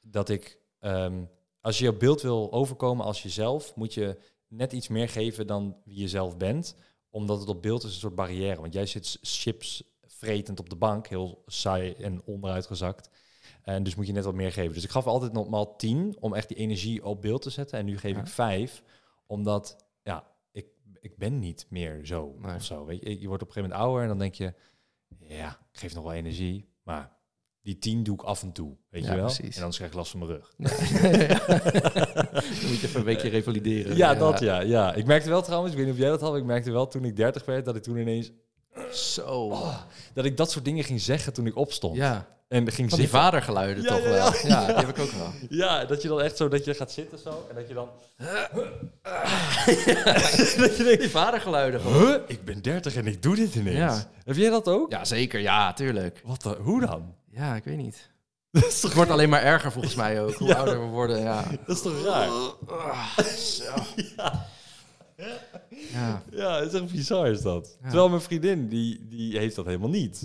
Speaker 1: dat ik... ehm, als je je beeld wil overkomen als jezelf... moet je net iets meer geven dan wie je zelf bent. Omdat het op beeld is een soort barrière. Want jij zit chips vretend op de bank. Heel saai en onderuitgezakt. En dus moet je net wat meer geven. Dus ik gaf altijd normaal 10 om echt die energie op beeld te zetten. En nu geef
Speaker 2: Ja.
Speaker 1: ik 5 omdat ja, ik, ik ben niet meer zo
Speaker 2: Nee.
Speaker 1: of zo. Weet je, je wordt op een gegeven moment ouder en dan denk je, ja, ik geef nog wel energie, maar die 10 doe ik af en toe, weet
Speaker 2: Ja,
Speaker 1: je wel?
Speaker 2: precies.
Speaker 1: En anders krijg ik last van mijn rug.
Speaker 2: Dan moet je even een weekje revalideren.
Speaker 1: Ja, dat ja, ja. Ik merkte wel trouwens, ik weet niet of jij dat had, maar ik merkte wel toen ik 30 werd dat ik toen ineens
Speaker 2: Zo.
Speaker 1: dat ik dat soort dingen ging zeggen toen ik opstond
Speaker 2: Ja.
Speaker 1: en ging
Speaker 2: Van die
Speaker 1: zitten.
Speaker 2: vadergeluiden
Speaker 1: Ja,
Speaker 2: toch
Speaker 1: ja,
Speaker 2: wel.
Speaker 1: ja.
Speaker 2: Ja, die heb ik ook wel.
Speaker 1: Ja, dat je dan echt zo dat je gaat zitten zo en dat je dan dat je denkt,
Speaker 2: Die vadergeluiden gewoon.
Speaker 1: huh, ik ben 30 en ik doe dit ineens.
Speaker 2: Ja.
Speaker 1: Heb jij dat ook?
Speaker 2: Ja, zeker. Ja, tuurlijk.
Speaker 1: Wat de- hoe dan?
Speaker 2: Ja, ik weet niet.
Speaker 1: Dat is toch,
Speaker 2: Het wordt alleen maar erger volgens mij ook, hoe ouder we worden. Ja.
Speaker 1: Oh, dat is toch raar?
Speaker 2: Ah, Zo. Ja,
Speaker 1: Ja, het is echt bizar is dat.
Speaker 2: Ja.
Speaker 1: Terwijl mijn vriendin, die, die heeft dat helemaal niet.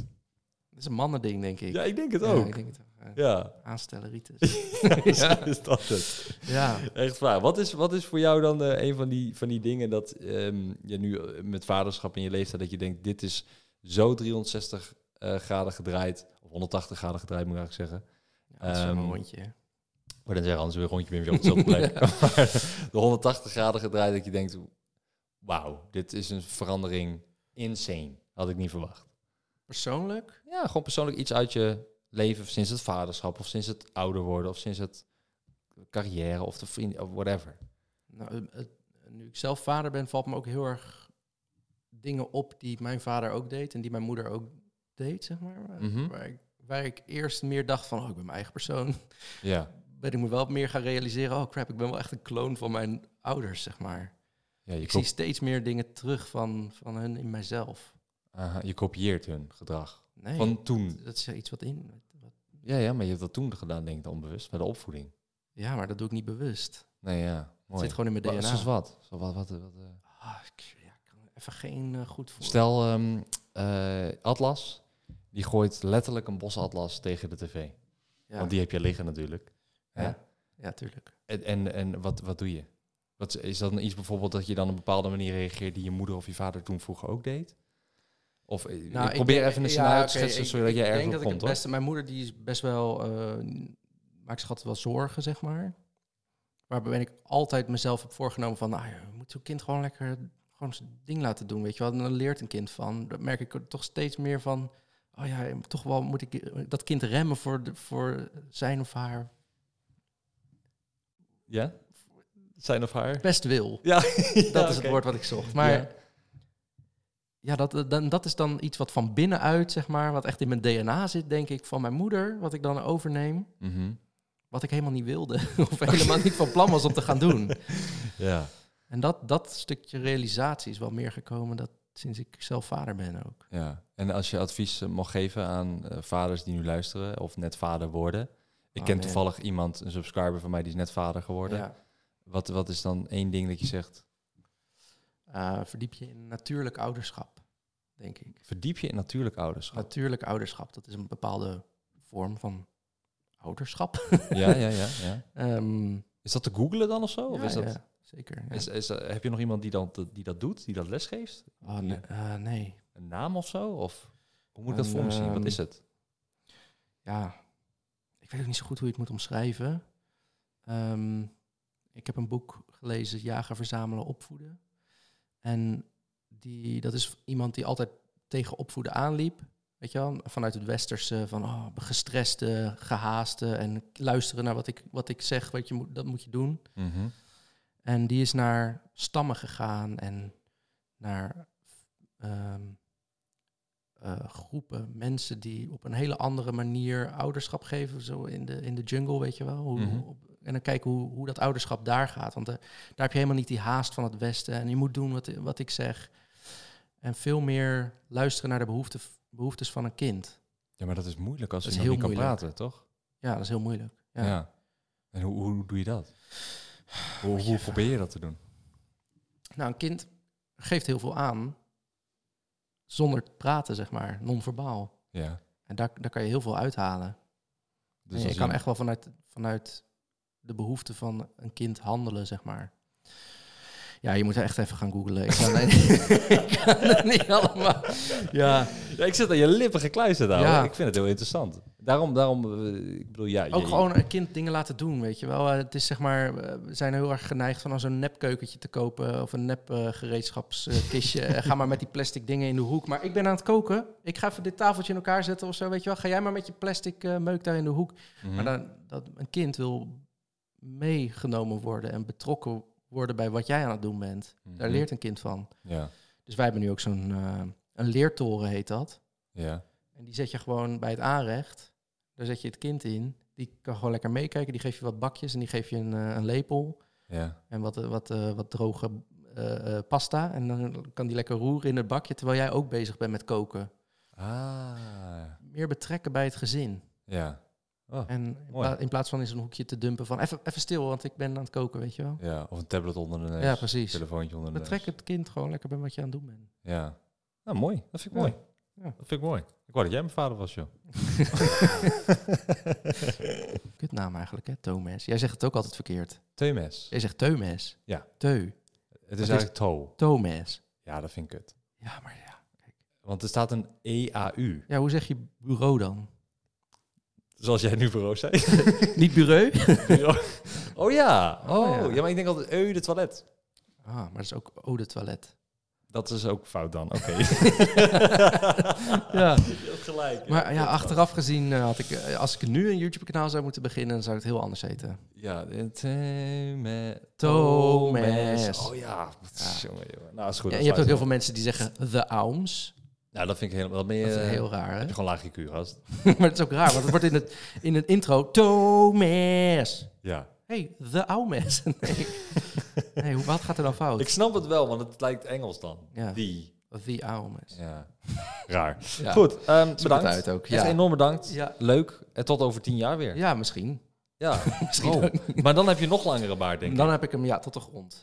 Speaker 2: dat is een mannending, denk ik.
Speaker 1: Ja, ik denk het
Speaker 2: Ja,
Speaker 1: ook.
Speaker 2: ik denk het ook. eh, Ja.
Speaker 1: Ja,
Speaker 2: Aanstelleritis.
Speaker 1: misschien is dat het.
Speaker 2: ja.
Speaker 1: Echt waar. Wat is, wat is voor jou dan eh, een van die, van die dingen dat ehm, je nu eh, met vaderschap in je leeftijd, dat je denkt, dit is zo 360 eh, graden gedraaid, of 180 graden gedraaid moet ik eigenlijk zeggen.
Speaker 2: Ja, dat is wel
Speaker 1: Ehm,
Speaker 2: een rondje. hè.
Speaker 1: Maar dan zeggen anders weer een rondje weer op dezelfde plek. Maar de 180 graden gedraaid dat je denkt, wauw, dit is een verandering insane. Had ik niet verwacht.
Speaker 2: Persoonlijk?
Speaker 1: Ja, gewoon persoonlijk iets uit je leven sinds het vaderschap of sinds het ouder worden of sinds het carrière of de vrienden of whatever.
Speaker 2: Nou, het- het- nu ik zelf vader ben, valt me ook heel erg dingen op die mijn vader ook deed en die mijn moeder ook deed, zeg maar. Waar-
Speaker 1: Mhm.
Speaker 2: waar, ik, waar ik eerst meer dacht van, oh, ik ben mijn eigen persoon.
Speaker 1: Ja,
Speaker 2: Ben ik me wel meer gaan realiseren, oh crap, ik ben wel echt een kloon van mijn ouders, zeg maar.
Speaker 1: ja je,
Speaker 2: Ik
Speaker 1: kop-
Speaker 2: zie steeds meer dingen terug van, van hun in mijzelf.
Speaker 1: aha, je kopieert hun gedrag.
Speaker 2: Nee,
Speaker 1: Van toen.
Speaker 2: dat is iets wat in... wat-
Speaker 1: Ja, ja, maar je hebt dat toen gedaan, denk ik, onbewust, bij de opvoeding.
Speaker 2: ja, maar dat doe ik niet bewust.
Speaker 1: Nee, ja,
Speaker 2: Het
Speaker 1: mooi.
Speaker 2: zit gewoon in mijn
Speaker 1: Wa-
Speaker 2: DNA.
Speaker 1: Zoals wat? Zo wat, wat, wat eh,
Speaker 2: Ah, ik, ja, ik kan even geen eh, goed voor.
Speaker 1: Stel, ehm, eh, Atlas, die gooit letterlijk een bosatlas tegen de tv.
Speaker 2: Ja,
Speaker 1: Want die heb je liggen natuurlijk. Hè?
Speaker 2: Ja. ja, tuurlijk.
Speaker 1: En, en, en wat, wat doe je? Wat, is dat dan iets bijvoorbeeld dat je dan op een bepaalde manier reageert die je moeder of je vader toen vroeger ook deed? Of eh,
Speaker 2: Nou,
Speaker 1: ik probeer
Speaker 2: denk-
Speaker 1: even een
Speaker 2: ja,
Speaker 1: scenario te
Speaker 2: oké,
Speaker 1: schetsen
Speaker 2: ik-
Speaker 1: zodat je
Speaker 2: ik
Speaker 1: ergens
Speaker 2: denk
Speaker 1: op
Speaker 2: dat ik
Speaker 1: komt,
Speaker 2: het beste, Mijn moeder die is best wel, eh, maakt zich altijd wel zorgen, zeg maar. Waarbij ik altijd mezelf heb voorgenomen van, nou, je moet zo'n kind gewoon lekker gewoon zijn ding laten doen, weet je wel. En Dan leert een kind van. Dat merk ik er toch steeds meer van, oh ja, toch wel moet ik eh, dat kind remmen voor, de, voor zijn of haar
Speaker 1: hoor. Ja? Zijn of haar?
Speaker 2: best wil.
Speaker 1: Ja,
Speaker 2: Dat is het woord wat ik zocht. Maar
Speaker 1: Ja.
Speaker 2: ja, dat, eh, dan, dat is dan iets wat van binnenuit, zeg maar, wat echt in mijn DNA zit, denk ik, van mijn moeder, wat ik dan overneem.
Speaker 1: Mhm.
Speaker 2: wat ik helemaal niet wilde. of helemaal niet van plan was om te gaan doen.
Speaker 1: Ja.
Speaker 2: En dat, dat stukje realisatie is wel meer gekomen dat, sinds ik zelf vader ben ook.
Speaker 1: Ja, en als je advies eh, mag geven aan eh, vaders die nu luisteren of net vader worden. Ik
Speaker 2: Oh,
Speaker 1: ken
Speaker 2: man.
Speaker 1: toevallig iemand, een subscriber van mij, die is net vader geworden.
Speaker 2: Ja.
Speaker 1: Wat, wat is dan één ding dat je zegt?
Speaker 2: Eh, verdiep je in natuurlijk ouderschap, denk ik.
Speaker 1: Verdiep je in natuurlijk ouderschap.
Speaker 2: Natuurlijk ouderschap, dat is een bepaalde vorm van ouderschap.
Speaker 1: ja, ja, ja, ja.
Speaker 2: Ehm,
Speaker 1: Is dat te googlen dan of zo? of
Speaker 2: ja,
Speaker 1: Oh, is dat,
Speaker 2: ja, zeker. ja.
Speaker 1: is, is, eh, heb je nog iemand die dat, die dat doet, die dat lesgeeft?
Speaker 2: Oh, nee. eh, nee.
Speaker 1: Een naam of zo? Of hoe moet ik dat
Speaker 2: Een,
Speaker 1: voor me zien? Wat
Speaker 2: ehm,
Speaker 1: is het?
Speaker 2: ja, ik weet ook niet zo goed hoe je het moet omschrijven. Ehm, ik heb een boek gelezen, Jagen, Verzamelen, Opvoeden. En die, dat is iemand die altijd tegen opvoeden aanliep. Weet je wel, vanuit het westerse, van oh, gestreste, gehaaste en luisteren naar wat ik, wat ik zeg, wat je moet, dat moet je doen.
Speaker 1: Mhm.
Speaker 2: En die is naar stammen gegaan en naar ehm, eh, groepen, mensen die op een hele andere manier ouderschap geven, zo in de, in de jungle, weet je wel. Hoe,
Speaker 1: Mhm.
Speaker 2: op- en dan kijken hoe, hoe dat ouderschap daar gaat. Want eh, daar heb je helemaal niet die haast van het Westen en je moet doen wat, wat ik zeg. En veel meer luisteren naar de behoefte, behoeftes van een kind.
Speaker 1: Ja, maar dat is moeilijk als
Speaker 2: Dat
Speaker 1: je
Speaker 2: is
Speaker 1: nog niet
Speaker 2: heel
Speaker 1: kan
Speaker 2: moeilijk.
Speaker 1: praten, toch?
Speaker 2: Ja, dat is heel moeilijk.
Speaker 1: Ja.
Speaker 2: Ja.
Speaker 1: En hoe, hoe doe je dat? Hoe,
Speaker 2: Moet je
Speaker 1: hoe
Speaker 2: even-
Speaker 1: probeer je dat te doen?
Speaker 2: Nou, een kind geeft heel veel aan zonder te praten, zeg maar, non-verbaal.
Speaker 1: Ja.
Speaker 2: En daar, daar kan je heel veel uithalen.
Speaker 1: Dus
Speaker 2: en
Speaker 1: als
Speaker 2: je kan echt wel vanuit, vanuit de behoefte van een kind handelen, zeg maar. Ja, je moet echt even gaan googlen. Ik kan, ik kan het niet allemaal. Ja,
Speaker 1: Ja, ik zit aan je lippen gekluisterd, ouwe.
Speaker 2: Ja.
Speaker 1: Ik vind het heel interessant. Daarom, daarom eh, ik bedoel, ja.
Speaker 2: ook
Speaker 1: je-
Speaker 2: gewoon een kind dingen laten doen, weet je wel. Eh, Het is zeg maar, eh, we zijn heel erg geneigd van al zo'n nepkeukentje te kopen of een nep eh, gereedschapskistje. En Ga maar met die plastic dingen in de hoek. Maar ik ben aan het koken. Ik ga even dit tafeltje in elkaar zetten of zo, weet je wel. Ga jij maar met je plastic eh, meuk daar in de hoek.
Speaker 1: Mhm.
Speaker 2: Maar dan, dat een kind wil meegenomen worden en betrokken worden bij wat jij aan het doen bent. Daar
Speaker 1: Mhm.
Speaker 2: leert een kind van.
Speaker 1: Ja,
Speaker 2: Dus wij hebben nu ook zo'n eh, een leertoren heet dat.
Speaker 1: ja.
Speaker 2: En die zet je gewoon bij het aanrecht. Daar zet je het kind in. Die kan gewoon lekker meekijken. Die geef je wat bakjes en die geef je een, eh, een lepel
Speaker 1: ja.
Speaker 2: en wat, eh, wat, eh, wat droge eh, eh, pasta. En dan kan die lekker roeren in het bakje terwijl jij ook bezig bent met koken.
Speaker 1: Ah,
Speaker 2: Meer betrekken bij het gezin.
Speaker 1: ja. Oké. Ah,
Speaker 2: En in,
Speaker 1: mooi.
Speaker 2: pla- in plaats van in zo'n hoekje te dumpen van even, even stil, want ik ben aan het koken, weet je wel.
Speaker 1: Ja, of een tablet onder de neus.
Speaker 2: Ja, precies.
Speaker 1: Telefoontje onder de
Speaker 2: Betrek
Speaker 1: neus.
Speaker 2: het kind gewoon lekker bij wat je aan het doen bent.
Speaker 1: Ja.
Speaker 3: Nou, mooi. Dat vind ik
Speaker 2: Ja.
Speaker 3: mooi.
Speaker 2: Ja.
Speaker 1: Dat vind ik mooi. Ik wou dat jij mijn vader was, joh.
Speaker 2: Kutnaam eigenlijk, hè, Thomas. Jij zegt het ook altijd verkeerd.
Speaker 1: TMS.
Speaker 2: Jij zegt Thomas.
Speaker 1: Ja.
Speaker 2: Teu.
Speaker 1: Het
Speaker 2: is-
Speaker 1: is eigenlijk toe.
Speaker 2: Thomas.
Speaker 1: Ja, dat vind ik kut.
Speaker 2: Ja, maar ja.
Speaker 1: Want er staat een E EAU.
Speaker 2: Ja, hoe zeg je bureau dan?
Speaker 1: Zoals jij nu bureau zei.
Speaker 2: Niet bureau?
Speaker 1: Bureau. oh ja. Oh,
Speaker 2: Oh, ja.
Speaker 1: ja. maar ik denk altijd eu de toilet.
Speaker 2: Ah, maar dat is ook oude toilet.
Speaker 1: Dat is ook fout dan. Oké.
Speaker 2: Ja.
Speaker 1: Je hebt gelijk.
Speaker 2: Maar ja, achteraf gezien eh, had ik, eh, als ik nu een YouTube-kanaal zou moeten beginnen, dan zou het heel anders
Speaker 1: Oh,
Speaker 2: heten.
Speaker 1: Ja, de Tome-
Speaker 2: Thomas.
Speaker 1: Oh ja. Dat is- jongen, jongen. Nou, is goed.
Speaker 2: Ja, en
Speaker 1: dan
Speaker 2: je hebt
Speaker 1: sluiten
Speaker 2: ook heel
Speaker 1: we.
Speaker 2: veel mensen die zeggen The Alms.
Speaker 1: Nou, dat vind ik helemaal... Dat ben je,
Speaker 2: Dat is
Speaker 1: heel...
Speaker 2: heel raar, hè?
Speaker 1: heb je gewoon laag IQ, gast.
Speaker 2: maar het is ook raar, want het wordt in het, in het intro Thomas.
Speaker 1: Ja.
Speaker 2: hey, The Almes. nee, nee hoe, wat gaat er dan fout?
Speaker 1: Ik snap het wel, want het lijkt Engels dan.
Speaker 2: Ja.
Speaker 1: Die.
Speaker 2: The Almes.
Speaker 1: Ja. Raar.
Speaker 2: Ja.
Speaker 1: Goed, ehm,
Speaker 2: Bedankt.
Speaker 1: bedankt.
Speaker 2: uit ook.
Speaker 1: Echt
Speaker 2: Ja.
Speaker 1: enorm bedankt.
Speaker 2: Ja.
Speaker 1: Leuk. En tot over tien jaar weer.
Speaker 2: ja, misschien.
Speaker 1: Ja.
Speaker 2: Misschien
Speaker 1: Oh, Maar dan heb je nog langere baard, denk ik.
Speaker 2: Dan heb ik hem ja, tot de grond.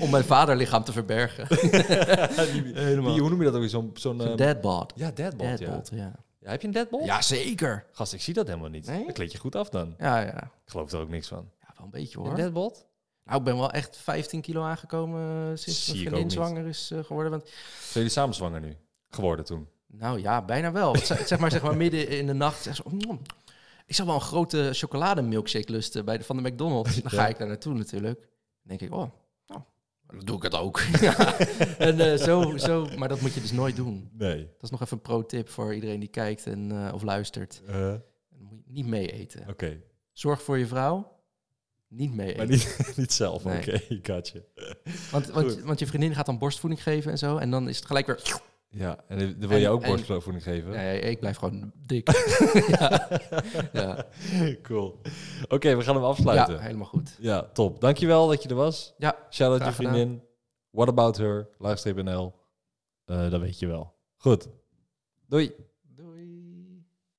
Speaker 2: Om mijn vaderlichaam te verbergen. Helemaal.
Speaker 1: Die, hoe noem je dat ook weer? Zo'n... zo'n eh,
Speaker 2: Deadbot.
Speaker 1: ja, deadbolt. ja. Oh.
Speaker 2: Deadbot, ja.
Speaker 1: Ja, heb je een deadbolt?
Speaker 2: Ja, zeker.
Speaker 1: Gast, ik zie dat helemaal niet.
Speaker 2: Nee?
Speaker 1: Dat kleed je goed af dan.
Speaker 2: Ja, ja.
Speaker 1: Ik geloof er ook niks van.
Speaker 2: Ja, wel een beetje
Speaker 1: Een
Speaker 2: hoor.
Speaker 1: deadbolt?
Speaker 2: Nou, ik ben wel echt 15 kilo aangekomen eh, sinds
Speaker 1: Zie ik
Speaker 2: mijn
Speaker 1: ook
Speaker 2: vriendin
Speaker 1: niet.
Speaker 2: zwanger is eh, geworden. Want,
Speaker 1: Zijn jullie samen zwanger nu? Geworden toen?
Speaker 2: nou ja, bijna wel. Want ze- zeg, maar, zeg maar midden in de nacht. Zeg ze, "Mm, ik zou wel een grote chocolademilkshake lusten bij de, van de McDonald's. Dan ga ik daar naartoe natuurlijk. Dan denk ik, oh, nou, dan doe ik het ook. Ja. En eh, zo, zo, maar dat moet je dus nooit doen.
Speaker 1: Nee.
Speaker 2: Dat is nog even een pro-tip voor iedereen die kijkt en, eh, of luistert. Dan moet je niet mee eten.
Speaker 1: Oké.
Speaker 2: Zorg voor je vrouw. Niet mee eten.
Speaker 1: Maar niet, niet zelf.
Speaker 2: Nee.
Speaker 1: Oké, gotcha.
Speaker 2: Want, want,
Speaker 1: Goed.
Speaker 2: want je vriendin gaat dan borstvoeding geven en zo. En dan is het gelijk weer...
Speaker 1: Ja, en eh, dan wil
Speaker 2: En-
Speaker 1: je ook
Speaker 2: en-
Speaker 1: borstvoeding geven?
Speaker 2: Ja, ja, ik blijf gewoon dik. ja. Ja.
Speaker 1: cool. Oké, we gaan hem afsluiten.
Speaker 2: ja,
Speaker 1: Ja,
Speaker 2: helemaal goed.
Speaker 1: top. Dankjewel dat je er was.
Speaker 2: Ja,
Speaker 1: Shout-out je
Speaker 2: Graag gedaan.
Speaker 1: vriendin. What about her? Laagstreep NL. Eh, dat weet je wel. Goed. Doei.